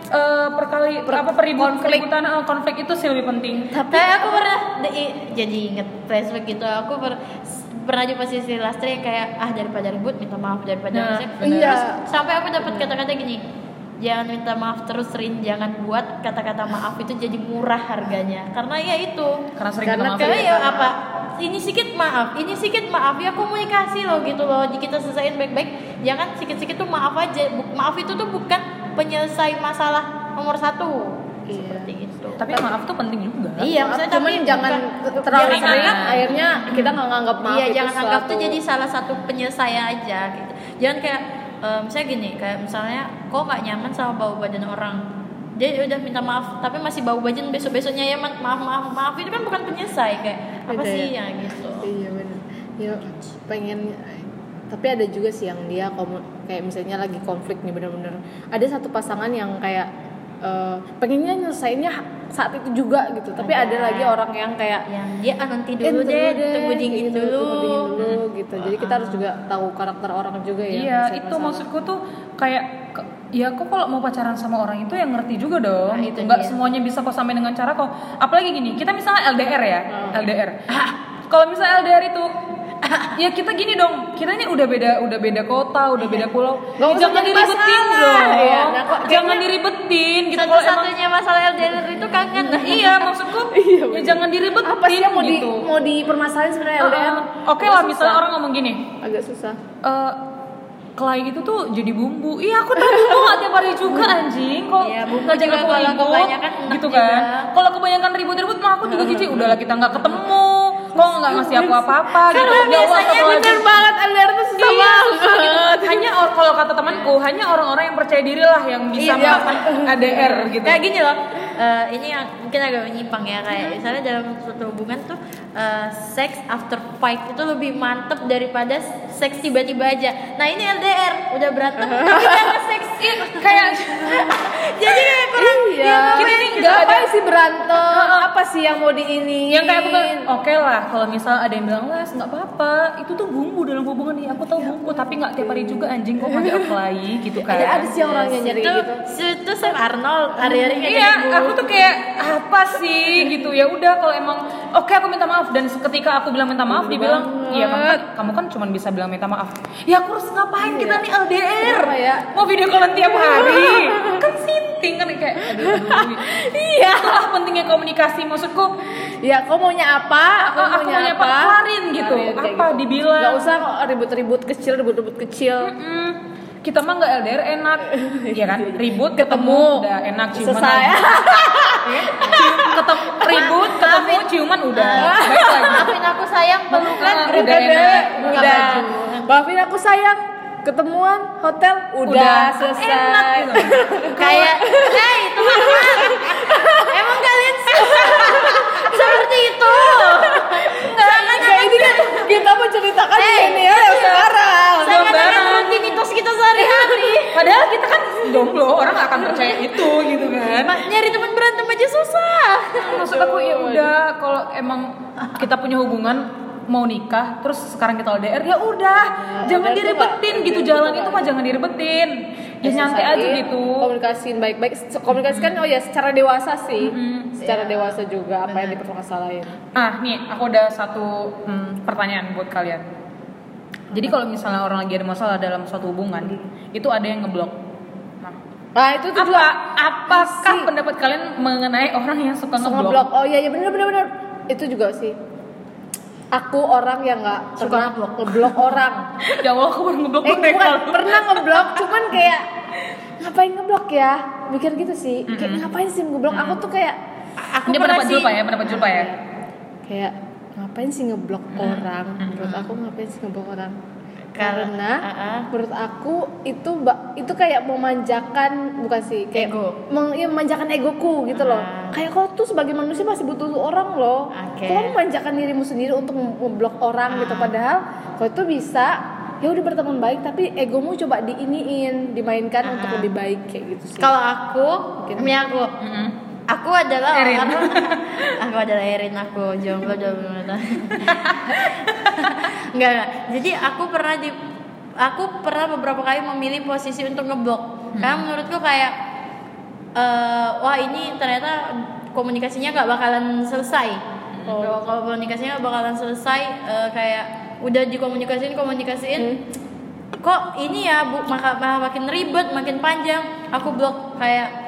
S1: eh, perkali apa peribut
S2: konflik.
S1: keributan eh, konflik itu sih lebih penting
S3: tapi Kayak aku pernah di- jadi inget Facebook gitu aku per- s- pernah di posisi lastri kayak ah daripada ribut minta maaf daripada
S1: Nah,
S3: ribut. terus
S2: bener. Iya.
S3: sampai aku dapat kata-kata gini jangan minta maaf terus Rin jangan buat kata-kata maaf itu jadi murah harganya karena ya itu
S1: karena sering
S2: Karena
S1: minta maaf
S3: Karena
S1: ya.
S3: ya apa? Ini sedikit maaf, ini sedikit maaf ya komunikasi loh gitu loh. Jadi kita selesaiin baik-baik. Jangan sedikit-sedikit tuh maaf aja. Bu- Maaf itu tuh bukan penyelesai masalah nomor satu.
S2: Iya.
S3: Seperti itu.
S1: tapi maaf tuh penting juga
S3: Iya,
S2: Maaf,
S3: maksudnya
S2: cuman
S3: tapi
S2: jangan
S3: bukan-
S2: terlalu
S3: jangan
S2: sering
S1: anggap-
S2: akhirnya kita nggak nganggap maaf
S3: iya,
S2: itu
S3: jangan anggap tuh
S2: suatu-
S3: jadi salah satu penyelesaian aja gitu. Jangan kayak eh, misalnya gini, kayak misalnya kok nggak nyaman sama bau badan orang. Dia udah minta maaf, tapi masih bau badan besok-besoknya ya maaf maaf maaf itu kan bukan penyelesai kayak apa
S2: Beda
S3: sih ya gitu.
S2: Iya benar. Ya pengen tapi ada juga sih yang dia komu- kayak misalnya lagi konflik nih bener-bener ada satu pasangan yang kayak eh, pengennya nyelesainnya saat itu juga gitu tapi ada,
S3: Ada.
S2: lagi orang yang kayak
S3: yang dia ah, nanti
S2: "Eh,
S3: dulu deh, tunggu dingin
S2: gitu,
S3: dulu. Ah.
S2: tunggu dingin dulu gitu jadi kita harus juga tahu karakter orang juga ya
S1: iya
S2: misalnya
S1: itu
S2: masalah.
S1: maksudku tuh kayak ke- ya kok kalau mau pacaran sama orang itu yang ngerti juga dong
S3: Nah,
S1: gitu.
S3: itu
S1: nggak
S3: dia.
S1: semuanya bisa kok sampai dengan cara kok apalagi gini kita misalnya LDR ya
S2: Hmm.
S1: LDR
S2: Ah.
S1: kalau misalnya LDR itu ya kita gini dong kita ini udah beda udah beda kota udah beda pulau
S2: Nggak usah
S1: jangan
S2: jadi
S1: diribetin
S2: masalah.
S1: dong
S2: Iya, nah, kok
S1: jangan diribetin gitu kalau emang
S3: Satu-satunya masalah LDR itu kangen.
S1: Nah, iya maksudku ya jangan diribetin
S2: apa sih yang mau di
S1: gitu.
S2: mau dipermasalahin sebenarnya
S3: Ah,
S2: LDR
S1: Heeh. Oke lah misalnya orang ngomong gini,
S2: agak susah
S1: eh Kelai itu tuh jadi bumbu. Iya aku tahu bumbu gak tiap hari juga anjing. Kok
S3: Iya, bumbu
S1: nggak
S3: juga
S1: jaga
S3: kalau
S1: ribut,
S3: kebanyakan enak
S1: gitu kan.
S3: juga.
S1: Kalau kebanyakan ribut-ribut mah aku juga jijik. Udahlah kita nggak ketemu. Kok nggak ngasih aku apa-apa gitu.
S2: karena
S1: Ya Allah,
S2: biasanya
S1: satu lagi.
S2: bener banget LDR tuh susah
S1: Iya,
S2: banget
S1: susah gitu. Hanya or- kalau kata temanku, hanya orang-orang yang percaya diri lah yang bisa
S2: Iya.
S1: melakukan ADR gitu.
S3: Kayak gini loh. eh, ini yang mungkin agak menyimpang ya kayak misalnya dalam suatu hubungan tuh eh, seks after fight itu lebih mantep daripada seks tiba-tiba aja. Nah ini LDR udah berantem tapi gak ada seks.
S1: kayak
S3: Jadi kayak kurang
S2: Iya.
S1: Kita ini nggak
S2: apa sih berantem? Apa sih yang mau diini?
S1: yang kayak aku tuh oke lah kalau misal ada yang bilang les nggak apa-apa itu tuh bumbu dalam hubungan nih aku tahu
S3: Iya,
S1: bumbu tapi nggak tiap hari juga anjing kok nggak apply gitu kan
S2: ada ada sih orang yang nyari
S3: itu
S2: gitu.
S3: itu Sam Arnold hari-hari kayak
S1: Iya,
S3: gitu.
S1: aku tuh kayak apa sih gitu ya udah kalau emang oke aku minta maaf dan ketika aku bilang minta maaf dibilang iya kamu kan kamu kan cuma bisa bilang minta maaf. Ya aku harus ngapain kita nih LDR?
S2: Kenapa ya?
S1: Mau video call tiap hari? kan sinting kan kayak aduh, aduh. Iya, itulah pentingnya komunikasi maksudku. "Ah,
S2: Ya, kau maunya apa? Aku,
S1: aku maunya apa? Keluarin gitu.
S2: kayak
S1: Apa dibilang.
S2: Gak usah kok ribut-ribut kecil, ribut-ribut kecil.
S1: Mm, kita mah nggak LDR enak, ya kan? Ribut
S2: Ketemu.
S1: ketemu, udah enak ciuman.
S2: Selesai.
S1: lagi. Cium, ketemu ribut, ketemu ciuman udah. Baik lagi.
S3: Maafin aku sayang pelukan
S1: Ah,
S3: greget.
S1: udah enak.
S3: Buka
S2: udah.
S3: baju.
S2: Maafin aku sayang. Ketemuan hotel udah, selesai.
S1: Enak gitu.
S3: kayak hey teman-teman emang kalian se- seperti itu
S2: Jangan kayak ini kan kita menceritakan
S1: Eh,
S3: Hey.
S2: ini
S1: iya.
S2: ya yang sekarang.
S3: saya akan
S1: Gambaran.
S3: rutinitas kita sehari-hari
S1: Padahal kita kan jomblo, orang gak akan percaya itu gitu kan.
S3: Ma- nyari teman berantem aja susah
S1: Maksud aku ya udah kalau emang kita punya hubungan mau nikah terus sekarang kita LDR ya udah jangan
S2: LDR tuh
S1: diribetin
S2: nggak-
S1: gitu
S2: LDR tuh
S1: jalan
S2: nggak-
S1: itu mah jangan diribetin ya nyantai
S2: Sesali,
S1: aja gitu
S2: komunikasiin baik-baik Se- komunikasikan oh ya secara dewasa sih secara dewasa juga apa yang dipermasalahin
S1: Ah, nih aku ada satu hmm, pertanyaan buat kalian. Jadi kalau misalnya orang lagi ada masalah dalam suatu hubungan, itu ada yang ngeblok. Nah,
S2: nah itu tuh
S1: apa apakah pendapat kalian mengenai orang yang suka
S2: suka
S1: ngeblok?
S2: ngeblok oh iya ya bener bener bener itu juga sih aku orang yang nggak suka ngeblok ngeblok orang
S1: ya Allah, aku baru ngeblok
S2: eh
S1: deh
S2: bukan pernah ngeblok cuman kayak ngapain ngeblok ya mikir gitu sih kayak ngapain sih ngeblok aku tuh kayak
S3: aku
S1: Ini
S3: pernah
S1: pendapat
S3: sih
S1: Julpa ya, pendapat Julpa ya.
S2: kayak ngapain sih ngeblok orang menurut aku ngapain sih ngeblok orang
S3: Karena-
S2: karena
S3: Ah-ah.
S2: menurut aku itu ba- itu kayak memanjakan bukan sih kayak
S3: Ego.
S2: meng- iya, memanjakan egoku gitu loh
S3: Ah.
S2: kayak kau tuh sebagai manusia masih butuh orang loh
S3: Oke. Ah.
S2: kau memanjakan dirimu sendiri untuk mem- ngeblok orang gitu padahal kau itu bisa ya udah berteman baik tapi egomu coba diiniin dimainkan untuk lebih baik kayak gitu sih
S3: Ah. kalau aku
S2: Mungkin.
S3: ini aku
S1: Mm-mm.
S3: aku adalah
S1: Erin.
S3: orang aku adalah Erin aku jomblo jomblo enggak enggak jadi aku pernah di aku pernah beberapa kali memilih posisi untuk
S2: Hmm.
S3: ngeblok karena menurutku kayak eh, wah ini ternyata komunikasinya nggak bakalan selesai
S2: Hmm.
S3: kalau kalau komunikasinya nggak bakalan selesai eh, kayak udah dikomunikasiin komunikasiin
S2: Hmm.
S3: kok ini ya bu maka, maka makin ribet makin panjang aku blok kayak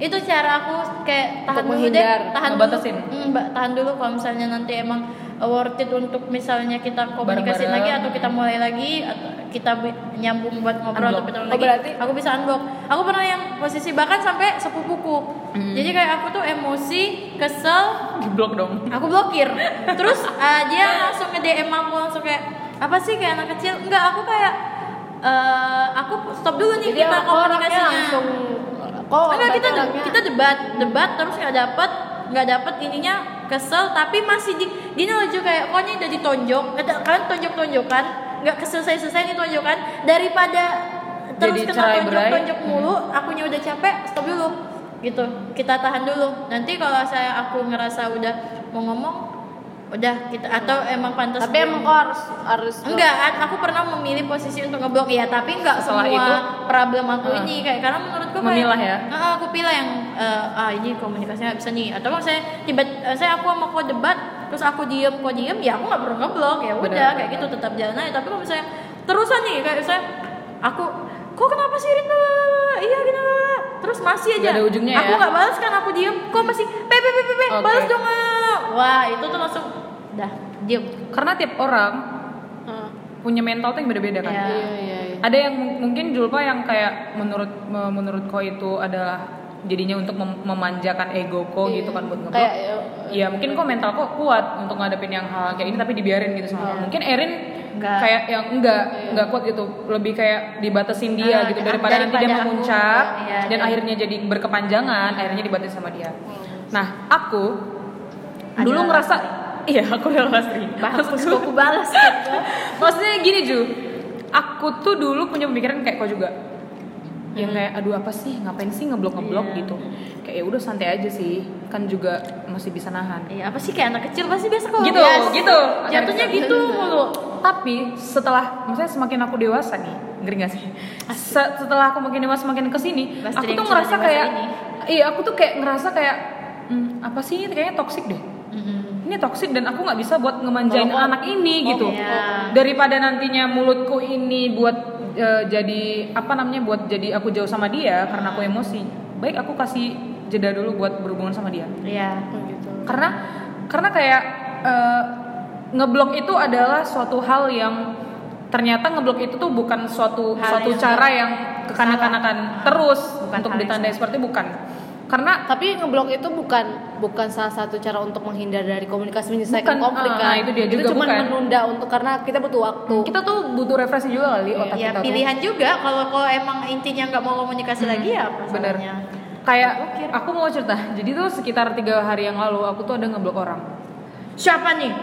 S3: itu cara aku kayak tahan
S2: Untuk
S3: dulu
S2: menghindar,
S3: deh tahan
S1: ngebatasin.
S3: dulu Mm, mbak tahan dulu kalau misalnya nanti emang worth it untuk misalnya kita komunikasi
S1: Bareng-bareng.
S3: lagi atau kita mulai lagi atau kita bi- nyambung buat ngobrol atau
S1: Unblock.
S3: ketemu
S2: Oh,
S3: lagi
S2: berarti-
S3: aku bisa unblock aku pernah yang posisi bahkan sampai sepupuku
S2: Hmm.
S3: jadi kayak aku tuh emosi kesel
S1: Diblok dong.
S3: aku blokir terus uh, dia langsung nge DM aku langsung kayak apa sih kayak anak kecil enggak aku kayak eh, aku stop dulu nih
S2: jadi
S3: kita
S2: orangnya
S3: komunikasinya
S2: langsung kok
S3: enggak kita de-
S2: orangnya-
S3: kita debat debat terus nggak dapet nggak dapet ininya kesel tapi masih di dia lucu kayak pokoknya udah ditonjok ada kalian tonjok tonjokan nggak keselesai selesai nih tonjokan daripada terus
S1: Jadi
S3: kena
S1: cerai-berai.
S3: tonjok tonjok mulu akunya udah capek stop dulu gitu kita tahan dulu nanti kalau saya aku ngerasa udah mau ngomong udah kita atau emang pantas
S2: tapi emang kok harus harus
S3: Enggak, a- aku pernah memilih posisi untuk ngeblok ya, tapi enggak
S1: Setelah
S3: semua
S1: itu?
S3: problem aku
S1: Ah.
S3: ini kayak karena menurutku kayak-
S1: Memilah ya?
S3: Heeh, aku pilih yang eh, ah ini komunikasinya nggak bisa nih atau kalau saya tiba eh, saya aku sama kau debat terus aku diem kau diem ya aku nggak perlu ngeblok ya udah
S1: Benar,
S3: kayak
S1: benar.
S3: gitu tetap jalan aja tapi kalau misalnya terusan nih kayak saya aku kok kenapa sih Rin Blablabla, iya gini blablabla." terus masih aja
S1: Nggak ada ujungnya
S3: aku
S1: ya?
S3: nggak balas kan aku diem kok masih pe pe pe pe, pe,
S1: Oke.
S3: balas dong ah." wah itu tuh langsung dah diem
S1: Karena tiap orang punya mental tuh yang beda-beda kan.
S3: Iya.
S2: iya iya iya
S1: Ada yang mung- mungkin Julpa yang kayak menurut me- menurut kau itu adalah jadinya untuk mem- memanjakan ego kau gitu kan buat ngeblok.
S2: kayak
S3: eh,
S1: Ya mungkin kok mental kok kuat untuk ngadepin yang hal kayak ini tapi dibiarin gitu sama orang. Mungkin Erin
S2: Enggak.
S1: kayak yang enggak enggak kuat gitu lebih kayak dibatasin dia
S3: Ah,
S1: gitu
S3: ah,
S1: daripada, nanti
S3: daripada
S1: dia
S3: aku,
S1: memuncak
S3: iya,
S1: dan
S3: iya.
S1: akhirnya jadi berkepanjangan akhirnya dibatasin sama dia nah aku
S3: Ada
S1: dulu
S3: Lastri.
S1: ngerasa iya aku udah lastri
S3: Bagus
S1: Maksudku-
S3: aku balas gitu.
S1: maksudnya gini Ju aku tuh dulu punya pemikiran kayak kau juga yang kayak aduh apa sih ngapain sih ngeblok ngeblok
S3: Hmm. Iya.
S1: gitu kayak ya udah santai aja sih kan juga masih bisa nahan
S3: Iya, apa sih kayak anak kecil pasti biasa kalau
S1: gitu
S3: bias.
S1: gitu Iya.
S3: Jatuhnya gitu mulu.
S1: tapi setelah maksudnya semakin aku dewasa nih ngeri gak sih Se- setelah aku makin dewasa makin kesini
S3: Mas
S1: aku
S3: Tri yang
S1: tuh
S3: cuma
S1: ngerasa
S3: dewasa
S1: kayak
S3: ini.
S1: iya aku tuh kayak ngerasa kayak "Hmm, apa sih ini kayaknya toxic deh
S3: Mm-hmm.
S1: ini toksik dan aku nggak bisa buat ngemanjain
S3: Ngomong.
S1: anak ini gitu
S3: Ngomong, iya.
S1: daripada nantinya mulutku ini buat eh, jadi apa namanya buat jadi aku jauh sama dia karena aku emosi baik aku kasih jeda dulu buat berhubungan sama dia
S3: Iya.
S2: gitu.
S1: karena karena kayak eh, ngeblok itu adalah suatu hal yang ternyata ngeblok itu tuh bukan suatu
S3: Hal
S1: suatu
S3: yang-
S1: cara yang kekanak-kanakan terus
S3: Bukan
S1: untuk
S3: hal yang
S1: ditandai seperti itu, bukan karena
S2: Tapi ngeblok itu bukan bukan salah satu cara untuk menghindar dari komunikasi menyelesaikan
S1: Bukan,
S2: konflik kan.
S1: ah, itu dia juga,
S2: cuma
S1: bukan.
S2: menunda untuk karena kita butuh waktu.
S1: kita tuh butuh refreshing juga kali otak
S3: Ya
S1: kita
S2: kan?
S1: tuh.
S3: pilihan juga kalau kalau emang intinya nggak mau komunikasi lagi ya apa
S1: Hmm. Bener.
S3: salahnya?
S1: Kayak
S3: Gokil.
S1: aku mau cerita. Jadi tuh sekitar tiga hari yang lalu aku tuh ada ngeblok orang.
S3: Siapa nih?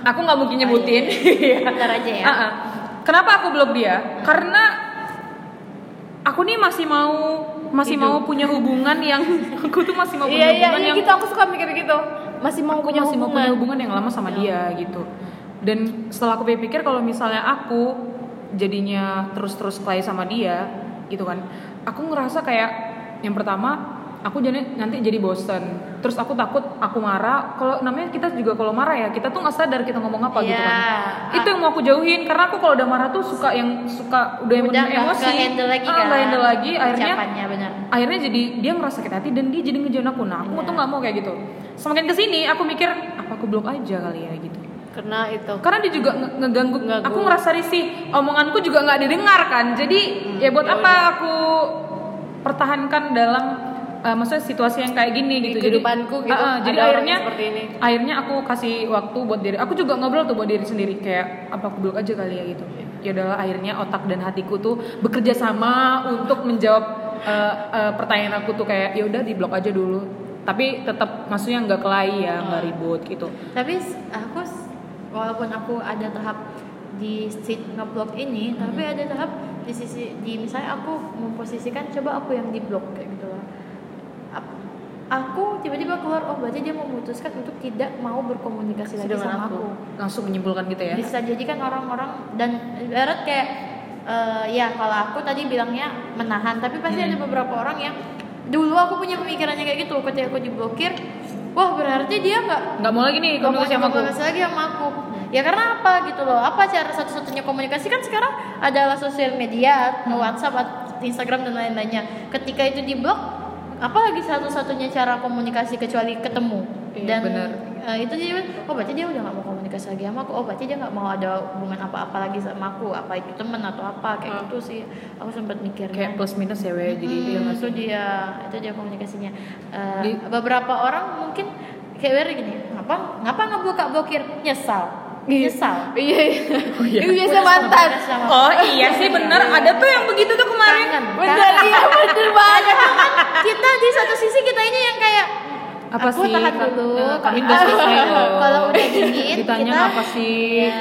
S1: Aku nggak mungkin nyebutin.
S3: Oh, iya.
S1: Iya.
S3: Ntar aja ya.
S1: Ah, ah. Kenapa aku blok dia? Karena aku nih masih mau masih mau punya hubungan yang aku tuh masih mau punya
S2: Iya iya
S1: hubungan
S2: iya
S1: yang
S2: gitu aku suka mikir gitu. Masih mau
S1: aku
S2: punya
S1: masih mau
S2: hubungan. Iya.
S1: punya hubungan yang lama sama dia gitu. Dan setelah aku pikir kalau misalnya aku jadinya terus-terus klay sama dia gitu kan. Aku ngerasa kayak yang pertama aku jadi nanti jadi bosen terus aku takut aku marah kalau namanya kita juga kalau marah ya kita tuh nggak sadar kita ngomong apa gitu
S3: Iya.
S1: kan itu yang mau aku jauhin karena aku kalau udah marah tuh suka yang suka udah,
S3: Udah nggak
S1: emosi
S3: handle lagi
S1: Ah,
S3: kan?
S1: nggak handle lagi akhirnya
S3: Ucapannya benar.
S1: akhirnya jadi dia ngerasa sakit hati dan dia jadi ngejauhin aku nah aku
S3: Iya.
S1: tuh nggak mau kayak gitu semakin kesini aku mikir apa aku blok aja kali ya gitu
S2: Karena itu.
S1: karena dia juga nge- ngeganggu
S2: Ngeganggu.
S1: aku ngerasa risih omonganku juga nggak didengar kan jadi
S2: Hmm,
S1: ya buat
S2: iya,
S1: apa aku pertahankan dalam eh, maksudnya situasi yang kayak gini
S2: Di
S1: gitu
S2: kehidupanku gitu,
S1: Ah, ah, jadi
S2: ada orang
S1: akhirnya
S2: yang seperti ini.
S1: akhirnya aku kasih waktu buat diri aku juga ngobrol tuh buat diri sendiri kayak apa aku blok aja kali ya gitu
S2: Iya.
S1: ya udahlah akhirnya otak dan hatiku tuh bekerja sama untuk menjawab eh, eh, pertanyaan aku tuh kayak ya udah diblok aja dulu tapi tetap maksudnya nggak kelahi ya
S2: Hmm.
S1: nggak ribut gitu
S3: Tapi s- aku s- walaupun aku ada tahap di sit ngeblok ini, tapi ada tahap di sisi di misalnya aku memposisikan coba aku yang diblok kayak gitu lah. Ap- Aku tiba-tiba keluar oh berarti dia memutuskan untuk tidak mau berkomunikasi lagi
S2: Sedangkan
S3: sama
S2: aku.
S3: aku.
S1: langsung menyimpulkan gitu ya
S3: bisa jadi kan orang-orang dan ibarat kayak eh, ya kalau aku tadi bilangnya menahan tapi
S1: Hmm.
S3: pasti ada beberapa orang yang dulu aku punya pemikirannya kayak gitu ketika aku diblokir wah berarti dia nggak
S1: nggak mau lagi nih
S3: nggak mau
S1: komunikasi Iya, sama aku
S3: komunikasi lagi sama aku ya karena apa gitu loh apa cara satu-satunya komunikasi kan sekarang adalah sosial media
S1: Hmm.
S3: WhatsApp at- Instagram dan lain-lainnya ketika itu diblok apalagi satu-satunya cara komunikasi kecuali ketemu
S1: Iya,
S3: dan
S1: benar.
S3: eh, itu jadi oh berarti dia udah nggak mau komunikasi lagi sama aku oh berarti dia nggak mau ada hubungan apa-apa lagi sama aku apa itu teman atau apa kayak gitu sih aku sempat mikirnya
S1: Hmm. kayak plus minus ya we jadi
S3: Hmm,
S1: dia
S3: itu
S1: masih
S3: dia itu dia komunikasinya Eh,
S1: Di-
S3: beberapa orang mungkin kayak Wery gini ngapa ngapa ngebuka blokir nyesal nyesal
S2: Iya. iya.
S3: Oh,
S1: iya.
S2: Itu biasa mantan.
S1: oh iya sih bener ada tuh yang begitu tuh kemarin
S3: Kangen,
S2: Bener
S3: kangen.
S2: iya bener banget.
S3: kan kita di satu sisi kita ini yang kayak
S1: Apa
S3: aku
S1: sih?
S3: tahan dulu
S1: Eh, kami udah selesai loh.
S3: kalau udah dingin
S1: ditanya
S3: kita eh,
S1: apa sih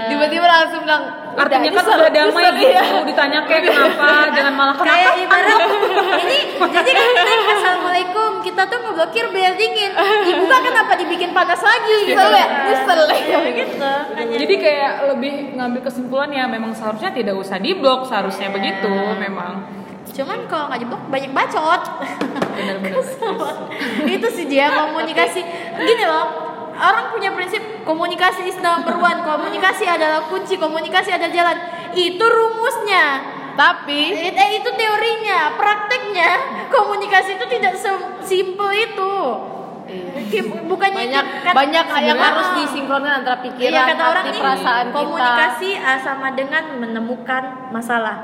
S2: Tiba-tiba langsung bilang "Udah,
S1: artinya kan
S2: nyesel,
S1: udah damai
S2: nyesel,
S1: gitu
S2: iya."
S1: ditanya kayak kenapa jangan malah Nah, kenapa
S3: Iya. kayak ibarat ini jadi kan kita assalamualaikum kita tuh ngeblokir biar dingin dibuka kenapa dibikin panas lagi gitu
S2: Nyesel ya, nyesel ya.
S3: Kayak gitu
S1: jadi kayak lebih ngambil kesimpulan ya memang seharusnya tidak usah diblok seharusnya begitu memang
S3: Cuman kalau nggak jeblok banyak bacot.
S1: benar-benar
S3: itu sih dia komunikasi. Gini loh, orang punya prinsip komunikasi is number one. Komunikasi adalah kunci, komunikasi adalah jalan. Itu rumusnya.
S2: Tapi
S3: It- eh, itu teorinya, prakteknya komunikasi itu tidak simple itu. Ki- Bukannya
S2: Iya. banyak
S3: kan-
S2: banyak yang
S3: sebenarnya-
S2: harus disinkronkan antara pikiran,
S3: Iya kata orang
S2: hati,
S3: nih
S2: perasaan kita.
S3: komunikasi ah, sama dengan menemukan masalah.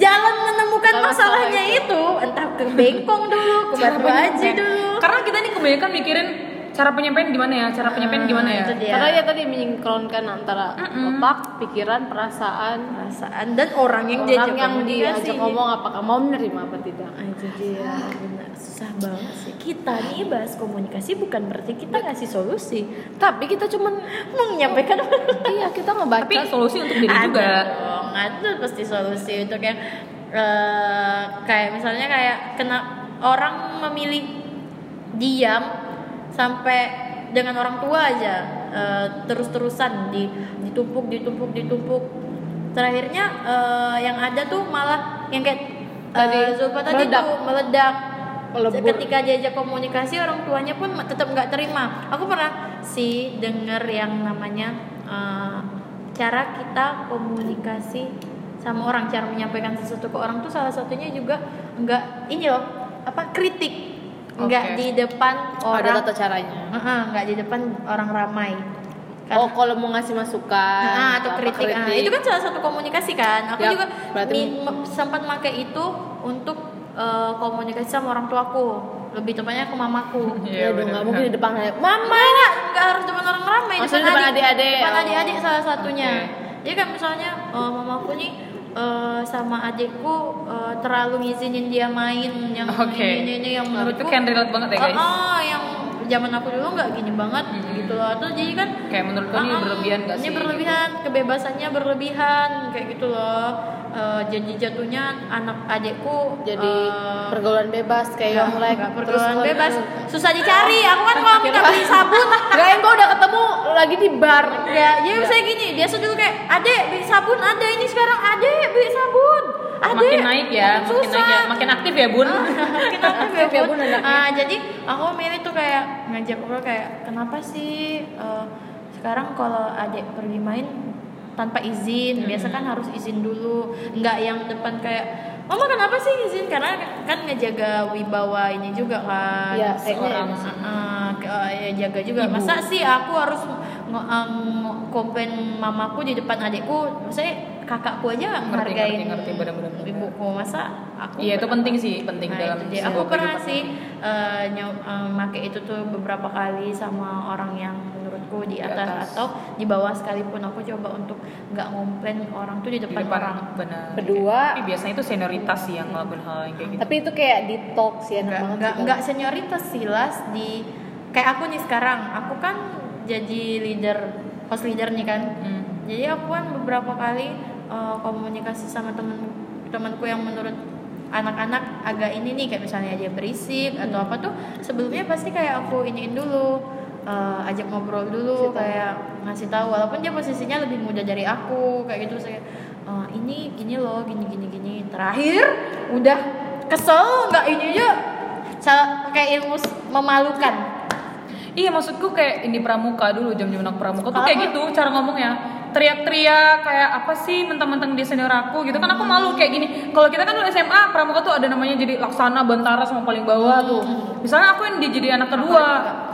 S3: Jalan menemukan
S2: Kalau masalah
S3: masalahnya itu. entah ke bengkong dulu, ke batu aja
S1: Kayak-
S3: dulu.
S1: karena kita nih kebanyakan mikirin cara penyampaian gimana ya cara penyampaian
S3: Ah,
S1: gimana ya
S3: itu dia.
S2: Karena ya tadi menyingkronkan antara otak, pikiran, perasaan,
S3: perasaan dan orang yang
S2: orang
S3: diajak
S2: yang
S3: komunikasi
S2: diajak
S3: nih.
S2: ngomong apakah mau menerima apa tidak.
S3: Ah, itu dia benar susah banget sih kita nih bahas komunikasi bukan berarti kita ngasih solusi tapi kita cuman menyampaikan
S2: iya kita ngebaca.
S1: tapi solusi untuk diri juga
S3: ada dong ada pasti solusi untuk yang eh, kayak misalnya kayak kena orang memilih diam sampai dengan orang tua aja eh, terus-terusan di ditumpuk ditumpuk ditumpuk terakhirnya eh, yang ada tuh malah yang kayak eh,
S2: Tadi,
S3: Zulfa tadi
S2: meledak.
S3: tuh meledak
S2: Melebur.
S3: ketika diajak komunikasi orang tuanya pun tetap nggak terima aku pernah sih denger yang namanya eh, cara kita komunikasi sama orang cara menyampaikan sesuatu ke orang tuh salah satunya juga nggak ini loh apa kritik
S1: Oke.
S3: nggak di depan
S2: Oh,
S3: orang
S2: ada tata caranya.
S3: Heeh, nggak di depan orang ramai
S2: Oh, kalau mau ngasih masukan
S3: Nah, atau
S2: apa, Iya,
S3: kritik. Ah, itu kan salah satu komunikasi kan. Aku
S2: Yap,
S3: juga
S2: berarti-
S3: min- me- sempat pakai itu untuk eh, komunikasi sama orang tuaku. Lebih tepatnya ke mamaku.
S2: Ya,
S1: Iya,
S2: aduh,
S1: bener.
S2: nggak mungkin di depan anak,
S3: Mama enggak, enggak harus depan orang ramai,
S2: Maksudnya depan adik-adik.
S3: Depan
S2: Oh.
S3: adik-adik salah satunya.
S1: Oke.
S3: Jadi kan misalnya eh, mamaku nih eh, sama adikku eh, terlalu ngizinin dia main yang
S1: Oke.
S3: ini, ini, ini yang
S1: Nah, itu
S3: menurutku
S1: can relate banget ya guys
S3: Oh, oh, yang zaman aku dulu nggak gini banget
S1: Mhm.
S3: gitu loh. Terus jadi kan
S1: Kayak menurutku ini
S3: ah,
S1: berlebihan nggak
S3: ini
S1: sih?
S3: berlebihan, kebebasannya berlebihan kayak gitu loh. Eh, jadi jatuhnya anak adikku
S2: jadi
S3: eh,
S2: pergaulan bebas kayak
S3: nggak-
S2: yonglek
S3: nggak
S2: terus
S3: Iya, pergaulan
S2: nge-
S3: bebas susah dicari. Aku kan kalau minta beli sabun
S2: Nggak, yang gua udah ketemu lagi di bar.
S3: ya, jadi misalnya gini, dia dulu kayak, adek beli sabun, ada ini sekarang, adek beli sabun, adek
S1: makin naik ya makin
S3: susah." Ah.
S1: naik ya makin aktif ya bun
S3: kita
S2: Aktif ya, Bun, anaknya.
S3: ah jadi aku milih tuh kayak ngajak ngobrol kayak kenapa sih eh, sekarang kalau adik pergi main tanpa
S1: Hmm.
S3: izin biasa kan harus izin dulu nggak yang depan kayak mama kenapa sih izin karena kan ngejaga wibawa ini juga kan
S2: Iya,
S1: seorang
S3: Ah, ah, ke- ah, ya jaga juga
S1: Ibu.
S3: masa sih aku harus nge- ah, nge- komplain mamaku di depan adikku maksudnya kakakku aja nggak
S1: Ngerti,
S3: menghargai
S1: ngerti, ngerti, benar-benar, benar.
S3: ibuku masa aku
S1: iya itu penting sih penting
S3: Nah,
S1: dalam
S3: itu dia.
S1: sebuah
S3: aku pernah
S1: kehidupan.
S3: sih eh, nyob eh, make itu tuh beberapa kali sama orang yang menurutku di
S1: Di
S3: atas,
S1: atas.
S3: atau di bawah sekalipun aku coba untuk nggak ngomplain orang tuh di
S1: di
S3: depan,
S1: depan
S3: orang
S1: benar
S2: Kedua.
S1: tapi biasanya itu senioritas sih yang ngelakuin hal yang kayak gitu
S2: Tapi itu kayak detox ya, enak
S3: nggak
S2: banget
S3: nggak
S2: sih,
S3: nggak senioritas silas di kayak aku nih sekarang aku kan jadi leader host leader nih kan
S1: Hmm.
S3: jadi aku kan beberapa kali eh, komunikasi sama temen temanku yang menurut anak-anak agak ini nih kayak misalnya dia berisik atau apa tuh sebelumnya pasti kayak aku iniin dulu eh, ajak ngobrol dulu
S2: Kasih tahu.
S3: kayak ngasih tahu walaupun dia posisinya lebih muda dari aku kayak gitu saya "Eh, ini gini loh gini gini gini terakhir udah kesel nggak ini aja Sa- pakai ilmu s- memalukan
S1: Iya maksudku kayak ini pramuka dulu jam-jam anak pramuka tuh kayak
S3: Apa?
S1: gitu cara ngomongnya teriak-teriak kayak apa sih mentang-mentang dia senior aku gitu kan aku malu kayak gini kalau kita kan dulu SMA pramuka tuh ada namanya jadi laksana bantara sama paling bawah tuh misalnya aku yang dia jadi anak kedua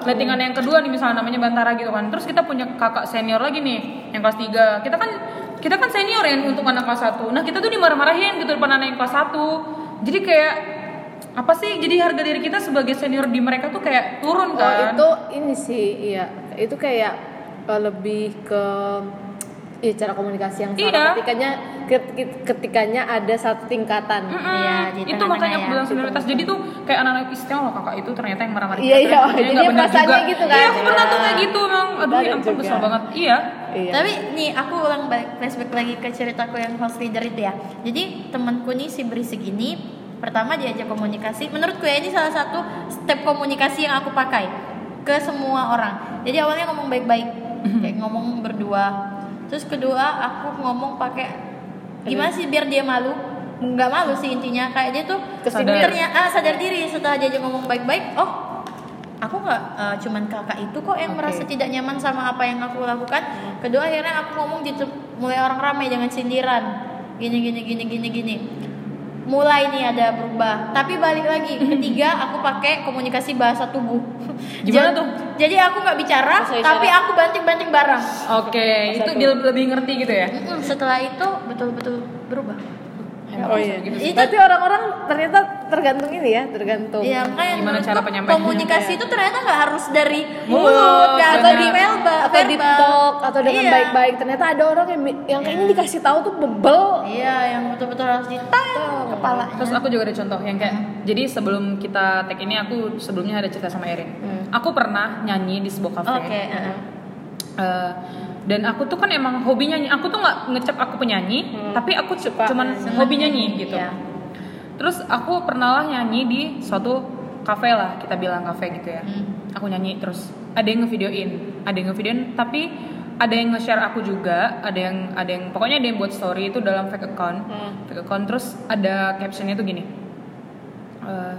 S1: lettingan yang kedua nih misalnya namanya bantara gitu kan terus kita punya kakak senior lagi nih yang kelas 3 kita kan kita kan senior ya untuk anak kelas 1 nah kita tuh dimarah-marahin gitu depan anak yang kelas 1 jadi kayak apa sih jadi harga diri kita sebagai senior di mereka tuh kayak turun
S2: Oh,
S1: kan
S2: itu ini sih, iya. Itu kayak eh, lebih ke iya cara komunikasi yang salah.
S1: Iya.
S2: Ketikanya ket- ket- ketikanya ada satu tingkatan.
S3: Iya, di
S1: itu
S3: tengah-tengah
S1: makanya aku
S3: ya,
S1: bilang
S2: di
S1: senioritas jadi tuh kayak anak-anak istilah loh kakak itu ternyata yang marah-marah
S2: Iya, iya.
S1: ternyata
S2: Jadi
S1: nggak
S2: dia
S1: benar
S2: perasaannya
S1: juga.
S2: gitu kan.
S1: iya aku pernah tuh
S2: Iya.
S1: kayak gitu emang aduh ya
S2: Ada
S1: ampun
S2: juga.
S1: besar banget iya
S2: Iya.
S3: tapi nih aku ulang balik flashback lagi ke ceritaku yang host leader itu ya jadi temanku nih si berisik ini pertama diajak komunikasi menurutku ya ini salah satu step komunikasi yang aku pakai ke semua orang jadi awalnya ngomong baik-baik kayak ngomong berdua terus kedua aku ngomong pakai gimana sih biar dia malu nggak malu sih intinya kayak dia tuh
S1: Kesadaran.
S3: ternyata ah, sadar diri setelah dia aja ngomong baik-baik oh aku nggak eh, cuman kakak itu kok yang
S2: Oke.
S3: merasa tidak nyaman sama apa yang aku lakukan kedua akhirnya aku ngomong di tem- mulai orang ramai dengan sindiran gini gini gini gini gini mulai nih ada berubah tapi balik lagi ketiga aku pakai komunikasi bahasa tubuh
S1: Gimana
S3: Jadi-
S1: tuh?
S3: jadi aku nggak bicara
S2: Bahasa isyarat.
S3: tapi aku banting-banting barang
S1: oke itu dia lebih ngerti gitu ya
S3: Mm-mm, setelah itu betul-betul berubah
S1: Emang
S2: Oh
S1: bisa
S2: iya.
S1: begitu sih.
S3: Itu-
S2: Berarti orang-orang ternyata tergantung ini ya, tergantung.
S3: Iya, makanya
S1: Gimana
S3: menurut
S1: cara
S3: gua
S1: penyampaiannya
S3: komunikasi
S1: kayak-
S3: itu ternyata nggak harus dari
S1: Mulut,
S3: mulut, nggak atau
S1: benar.
S3: di melba,
S2: atau di talk atau dengan
S3: Iya.
S2: baik-baik. Ternyata ada orang yang yang kayaknya
S1: Iya.
S2: dikasih tahu tuh bebel.
S3: Iya, yang betul-betul harus ditayang kepala.
S1: Terus aku juga ada contoh yang kayak jadi sebelum kita tag ini aku sebelumnya ada cerita sama Erin.
S2: Mm.
S1: Aku pernah nyanyi di sebuah
S3: Oke,
S1: kafe.
S3: heeh.
S1: Eh, dan aku tuh kan emang hobi nyanyi. Aku tuh nggak ngecap aku penyanyi,
S2: Mm.
S1: tapi aku cu- cuman hobi nyanyi gitu.
S3: Iya.
S1: Terus aku pernah lah nyanyi di suatu kafe lah, kita bilang kafe gitu ya.
S2: Hmm.
S1: Aku nyanyi terus ada yang ngevideoin, ada yang ngevideoin tapi ada yang nge-share aku juga, ada yang ada yang pokoknya ada yang buat story itu dalam fake account.
S2: Hmm.
S1: Fake account terus ada captionnya tuh gini. Eh,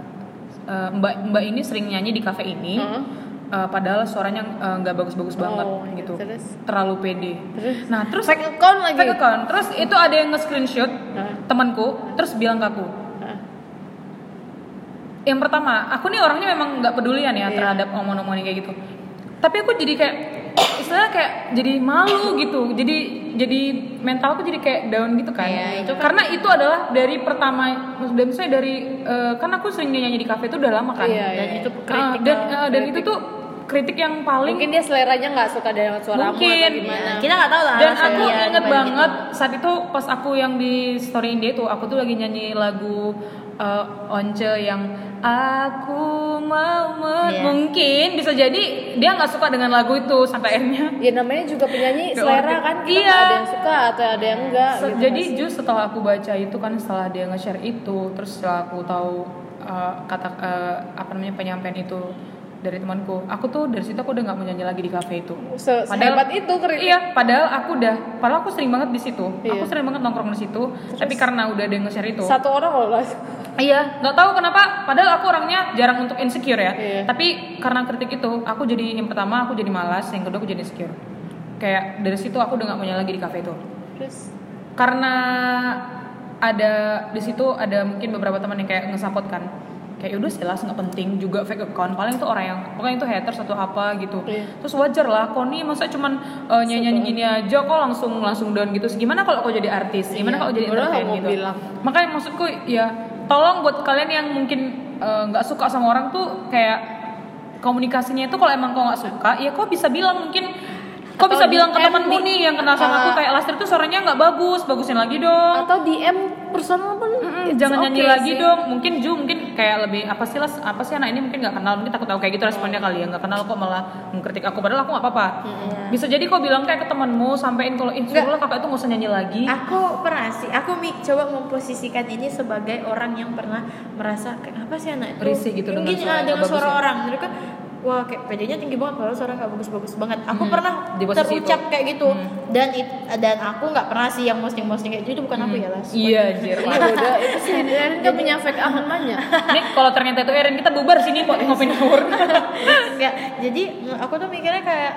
S1: eh, Mbak Mbak ini sering nyanyi di kafe ini. eh, padahal suaranya eh, nggak bagus-bagus banget
S2: Hmm. Oh, iya.
S1: gitu,
S2: Terus?
S1: terlalu pede. Nah terus
S2: Fake account lagi.
S1: Fake account. Terus itu ada yang nge-screenshot
S2: Hah?
S1: temanku, terus bilang ke aku.
S2: Hah?
S1: Yang pertama, aku nih orangnya memang nggak pedulian
S2: Iya.
S1: ya terhadap omongan-omongan kayak gitu. Tapi aku jadi kayak istilahnya kayak jadi malu gitu. Jadi jadi mental aku jadi kayak down gitu kan.
S3: Iya, itu kan-
S1: Karena itu adalah dari pertama maksudnya misalnya dari eh, kan aku sering nyanyi di kafe itu udah lama kan.
S2: Iya,
S3: Dan
S2: iya.
S3: itu
S1: Ah,
S3: kritik
S1: dan
S3: lah.
S1: eh, dan itu tuh kritik yang paling
S2: Mungkin dia seleranya nggak suka dengan suaramu
S1: Mungkin.
S2: atau gimana.
S3: Nah, Kita nggak tahu lah.
S1: dan
S3: alasan
S1: aku
S3: dia
S1: inget
S3: dibalik itu.
S1: banget saat itu pas aku yang di story dia tuh aku tuh lagi nyanyi lagu uh, Once yang aku mau men-
S3: Iya.
S1: mungkin bisa jadi dia nggak suka dengan lagu itu sampai akhirnya
S2: Ya namanya juga penyanyi
S1: Nggak
S2: selera
S1: ngerti.
S2: kan. Kita
S1: Iya.
S2: nggak Ada yang suka atau ada yang gitu. enggak.
S1: Se- jadi just setelah aku baca itu kan setelah dia nge-share itu terus setelah aku tahu uh, kata uh, apa namanya penyampaian itu dari temanku aku tuh dari situ aku udah nggak mau nyanyi lagi di kafe itu
S2: sehebat itu kritik.
S1: Iya, padahal aku udah, padahal aku sering banget di situ. Aku
S2: Iya.
S1: sering banget nongkrong di situ, tapi karena udah ada yang nge-share itu.
S2: Satu orang loh Mas.
S1: Iya, nggak tahu kenapa. Padahal aku orangnya jarang untuk insecure ya.
S2: Iya.
S1: Tapi karena kritik itu, aku jadi yang pertama aku jadi malas, yang kedua aku jadi insecure. Kayak dari situ aku udah nggak punya lagi di kafe itu.
S2: Terus
S1: Karena ada di situ ada mungkin beberapa teman yang kayak ngesapot kan. Kayak udah jelas nggak penting juga fake account. Paling itu orang yang pokoknya itu haters atau apa gitu.
S2: Iya.
S1: Terus wajar lah, kok nih masa cuman eh, nyanyi-nyanyi gini aja kok langsung langsung down gitu. Gimana kalau kau jadi artis? Gimana
S2: Iya,
S1: kalau jadi
S2: padahal
S1: entertain
S2: mau
S1: gitu?
S2: bilang.
S1: Makanya maksudku ya tolong buat kalian yang mungkin eh, nggak suka sama orang tuh kayak komunikasinya itu kalau emang kau nggak suka ya kau bisa bilang mungkin kau bisa
S2: Atau
S1: bilang ke
S2: DM
S1: temanmu
S2: nih.
S1: nih yang kenal sama aku
S2: Ah.
S1: kayak Lastri tuh suaranya nggak bagus bagusin lagi dong
S2: atau DM personal pun
S1: Mm-mm,
S2: it's
S1: jangan nyanyi
S2: okay
S1: lagi
S2: sih.
S1: dong mungkin Ju mungkin kayak lebih apa sih las apa sih anak ini mungkin nggak kenal mungkin takut tahu kayak gitu responnya kali ya nggak kenal kok malah mengkritik aku padahal aku nggak apa-apa bisa jadi kau bilang kayak ke temanmu sampein kalau ih suruh lah kakak itu nggak usah nyanyi lagi
S2: Ah.
S3: Aku pernah sih, aku mi coba memposisikan ini sebagai orang yang pernah merasa kenapa sih anak itu
S1: Risih gitu dengan
S3: mungkin
S1: suara
S3: ah,
S1: nggak
S3: dengan
S1: bagus
S3: suara
S1: ya?"
S3: orang, mereka kan wah kayak pedenya tinggi banget padahal suara nggak bagus-bagus banget. Aku pernah
S1: Hmm. Di posisi
S3: terucap
S1: itu. Hmm.
S3: kayak gitu dan it, dan aku nggak pernah sih yang posting-posting kayak gitu itu bukan aku ya lah.
S1: iya jir
S2: Ya udah itu sih Erin kan punya fake account banyak.
S1: Nih kalau ternyata itu Erin kita bubar sini kok ngopi ngawur.
S3: Enggak, jadi mm, aku tuh mikirnya kayak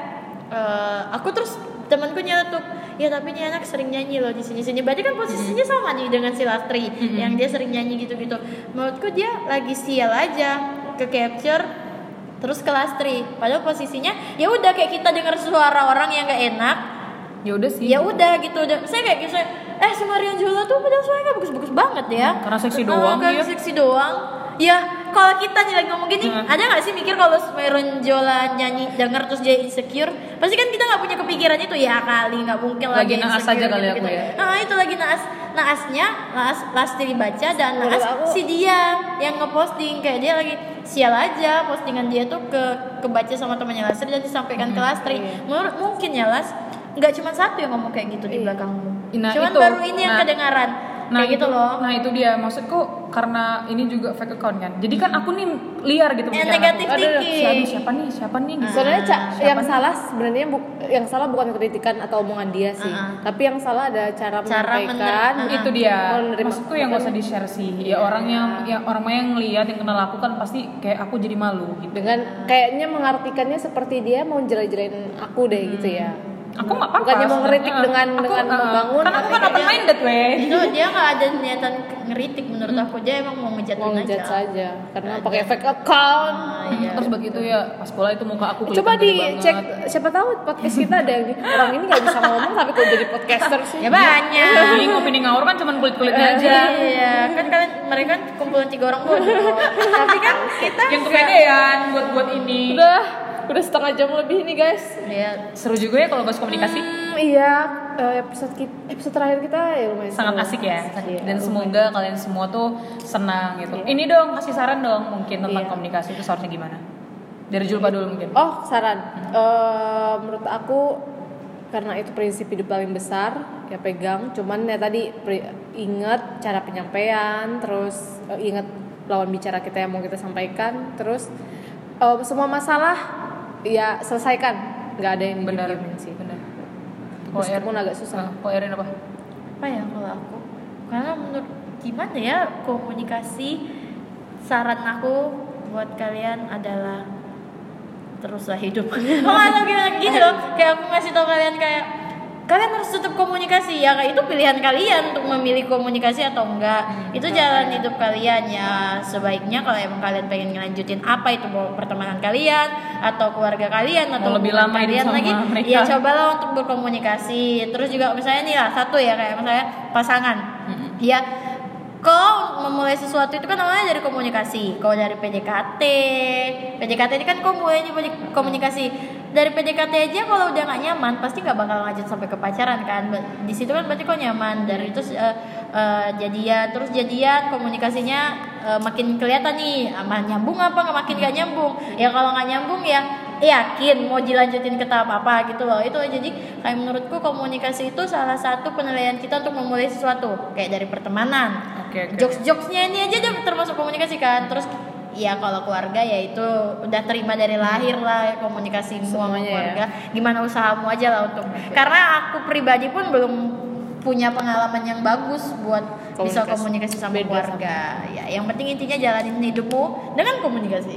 S3: eh, aku terus temanku nyeletuk ya tapi ini anak sering nyanyi loh di sini sini berarti kan posisinya sama nih dengan si Lastri yang dia sering nyanyi gitu gitu menurutku dia lagi sial aja ke capture terus ke Lastri padahal posisinya ya udah kayak kita dengar suara orang yang gak enak
S1: ya udah sih.
S3: ya udah gitu dan saya kayak gitu eh si Marion Jola tuh padahal suaranya gak bagus-bagus banget ya
S1: Karena seksi
S3: Ah,
S1: doang
S3: karena
S1: dia.
S3: seksi doang ya kalau kita nih lagi ngomong gini ada nggak sih mikir kalau Marion Jola nyanyi denger terus dia insecure pasti kan kita nggak punya kepikiran itu ya kali nggak mungkin lah
S1: Lagi
S3: dia
S1: naas
S3: insecure
S1: aja kali
S3: gitu-gitu.
S1: aku ya.
S3: ah itu lagi naas naasnya naas pasti dibaca dan
S2: Menurut
S3: naas
S2: aku-
S3: si dia yang ngeposting kayak dia lagi sial aja postingan dia tuh ke kebaca sama temannya Lastri dan disampaikan
S1: Hmm,
S3: ke Lastri
S1: iya.
S3: menurut mungkin ya Las nggak cuma satu yang ngomong kayak gitu di
S2: Iya.
S3: belakangmu
S1: Nah,
S3: cuman
S1: itu.
S3: baru ini yang
S1: Nah,
S3: kedengaran
S1: Nah
S3: kayak gitu
S1: itu-
S3: loh
S1: Nah itu dia maksudku karena ini juga fake account kan. Jadi kan aku nih liar gitu. pemikiran
S3: Eh,
S1: aku.
S3: negatif Nah.
S2: Aduh,
S1: Si- aduh,
S3: thinking
S1: siapa nih? Siapa nih? Gitu.
S2: Sebenarnya Cak,
S1: Siapa
S2: yang
S1: nih?
S2: salah sebenarnya bu- yang salah bukan kritikan atau omongan dia sih,
S1: Ah,
S3: Uh-uh.
S2: tapi yang salah ada cara,
S3: Cara
S2: menyampaikan.
S3: mener-
S1: itu dia
S2: Kalau menerima-
S1: maksudku yang gak usah di share sih ya
S2: Iya.
S1: orang yang ya orang yang lihat yang kenal aku kan pasti kayak aku jadi malu gitu
S2: dengan kayaknya mengartikannya seperti dia mau jelek-jelekin aku deh gitu ya.
S1: Aku nggak apa-apa.
S2: Bukannya mau ngeritik
S1: sebenarnya.
S2: dengan- dengan
S1: eh,
S2: membangun,
S1: Karena aku kan
S2: tapi
S1: open minded weh.
S3: itu dia nggak ada niatan ngeritik menurut
S1: Hmm.
S3: aku dia emang mau ngejatuhin
S2: mau ngejat
S3: aja
S2: saja karena pakai fake account
S3: Ah, iya.
S1: Terus begitu ya pas pula itu muka aku
S2: coba
S1: kelihatan gede
S2: dicek
S1: banget.
S2: siapa tahu podcast kita ada yang orang ini nggak bisa ngomong tapi kok jadi podcaster sih
S3: ya banyak
S1: Kuning kuning ngawur kan cuman kulit kulitnya aja.
S3: iya kan kalian mereka kan kumpulan tiga orang bodoh tapi kan kita
S1: Yang kepedean buat buat ini.
S2: Iya. udah udah setengah jam lebih nih guys
S3: ya
S1: Seru juga ya kalau bahas komunikasi.
S2: Hmm, iya eh, episode kita, episode terakhir kita ya lumayan
S1: sangat
S2: seru.
S1: asik ya
S2: Iya.
S1: dan semoga kalian semua tuh senang gitu ini dong kasih saran dong mungkin tentang
S2: Iya.
S1: komunikasi itu seharusnya gimana dari Julpa dulu mungkin
S2: oh saran Eh, menurut aku karena itu prinsip hidup paling besar ya pegang cuman ya tadi pri- ingat cara penyampaian terus eh, ingat lawan bicara kita yang mau kita sampaikan terus eh, semua masalah ya selesaikan nggak ada yang
S1: benar
S2: didiemin sih
S1: benar Kok Erin-
S2: meskipun agak susah
S1: kok Erin apa
S3: apa ya kalau aku karena menurut gimana ya komunikasi saran aku buat kalian adalah teruslah hidup oh nggak tahu gimana gitu loh kayak aku ngasih tau kalian kayak kalian harus tetap komunikasi ya itu pilihan kalian untuk memilih komunikasi atau
S1: Hmm,
S3: enggak itu jalan hidup kalian ya sebaiknya kalau emang kalian pengen ngelanjutin apa itu mau pertemanan kalian atau keluarga kalian
S1: Mau
S3: atau
S1: lebih
S3: hubungan
S1: lama hidup
S3: kalian
S1: sama
S3: lagi
S1: mereka.
S3: ya cobalah untuk berkomunikasi terus juga misalnya nih lah satu ya kayak misalnya pasangan ya kau memulai sesuatu itu kan awalnya dari komunikasi kau dari PDKT PDKT ini kan kau mulai dari komunikasi dari PDKT aja kalau udah nggak nyaman pasti nggak bakal lanjut sampai ke pacaran kan Ber- di situ kan berarti kau nyaman dari itu eh, eh, jadian terus jadian komunikasinya eh, makin kelihatan nih ama nyambung apa nggak makin nggak nyambung ya kalau nggak nyambung ya yakin mau dilanjutin ke tahap apa gitu loh itu jadi kayak menurutku komunikasi itu salah satu penilaian kita untuk memulai sesuatu kayak dari pertemanan
S1: oke oke
S3: jokes-jokesnya ini aja udah termasuk komunikasi kan terus ya kalau keluarga ya itu udah terima dari lahir lah komunikasi semua
S2: Semuanya ya.
S3: keluarga gimana usahamu aja lah untuk karena aku pribadi pun belum punya pengalaman yang bagus buat bisa
S2: Komunikasi.
S3: komunikasi sama
S2: Beda sama.
S3: keluarga ya yang penting intinya jalanin hidupmu dengan komunikasi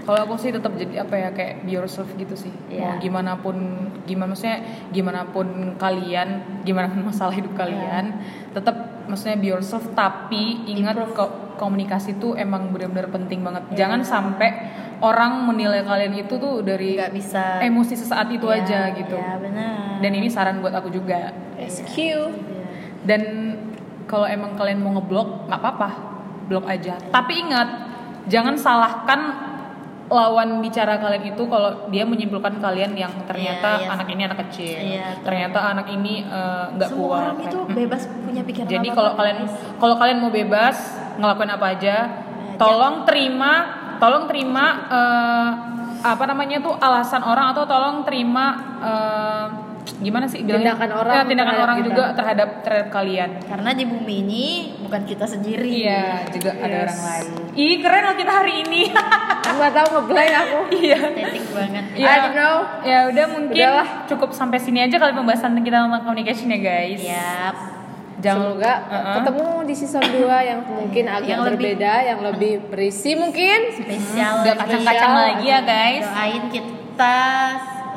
S1: kalau aku sih tetap jadi apa ya kayak be yourself gitu sih mau
S3: Iya.
S1: gimana pun gimana maksudnya gimana pun kalian gimana pun masalah hidup kalian
S3: Iya.
S1: tetap maksudnya be yourself tapi ingat ko- komunikasi tuh emang benar-benar penting banget
S3: Iya.
S1: jangan sampai orang menilai kalian itu tuh
S2: Iya.
S1: dari
S3: nggak
S2: Eh,
S3: bisa
S1: emosi sesaat itu
S3: Ya,
S1: aja gitu
S3: ya benar Iya.
S1: dan ini saran buat aku juga
S2: SQ
S1: dan kalau emang kalian mau ngeblok nggak apa-apa blok aja tapi ingat jangan salahkan lawan bicara kalian itu kalau dia menyimpulkan kalian yang ternyata
S3: Iya, iya.
S1: anak ini anak kecil
S3: Iya,
S1: ternyata anak ini eh, nggak
S3: semua
S1: kuat
S3: orang itu bebas punya pikiran
S1: kan. jadi
S3: apa-apa,
S1: kalau kalian
S3: guys.
S1: kalau kalian mau bebas ngelakuin apa aja
S3: Iya,
S1: tolong terima tolong terima eh, apa namanya tuh alasan orang atau tolong terima eh, gimana sih bilangnya?
S2: Tindakan orang
S1: Ya, tindakan
S2: terhadap
S1: orang
S2: kita.
S1: juga terhadap terhadap kalian
S3: karena di bumi ini bukan kita sendiri
S1: Iya, juga ada orang lain. Ih, keren loh kita hari ini.
S2: nggak tahu ngeblank aku
S3: Estetik banget
S2: I don't know.
S1: Ya udah mungkin
S2: Iya. Udahlah.
S1: cukup sampai sini aja kali pembahasan kita tentang communication ya guys.
S3: Yap.
S1: Jangan
S2: Iya. Semoga
S1: Uh-uh.
S2: ketemu di season 2 yang mungkin agak
S3: Yang lebih-
S2: berbeda, yang lebih berisi mungkin.
S3: spesial
S1: Udah kacang-kacang
S3: spesial.
S1: lagi ya guys.
S3: doain kita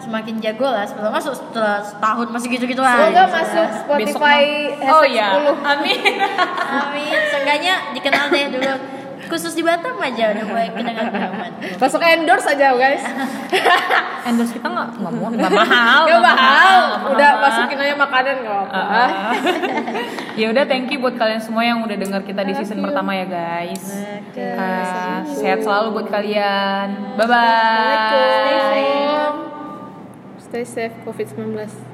S3: semakin jago lah sebelum masuk setelah setahun masih gitu-gitu lah
S2: Semoga masuk Spotify
S1: Besok mah- Oh
S2: hashtag
S1: ya,
S2: 10.
S1: amin.
S3: amin seenggaknya dikenal deh dulu khusus di Batam aja udah mulai kenangan kenangan
S2: Masuk endorse aja guys.
S1: Endorse kita nggak nggak mau, nggak mahal.
S2: Ya
S1: nggak
S2: mahal,
S1: nggak mahal.
S2: udah masukin aja makanan nggak apa-apa.
S1: Ah. ya udah thank you buat kalian semua yang udah dengar kita di season pertama ya guys. Ah, sehat selalu buat kalian. Bye bye.
S2: Assalamualaikum. Stay safe COVID-19.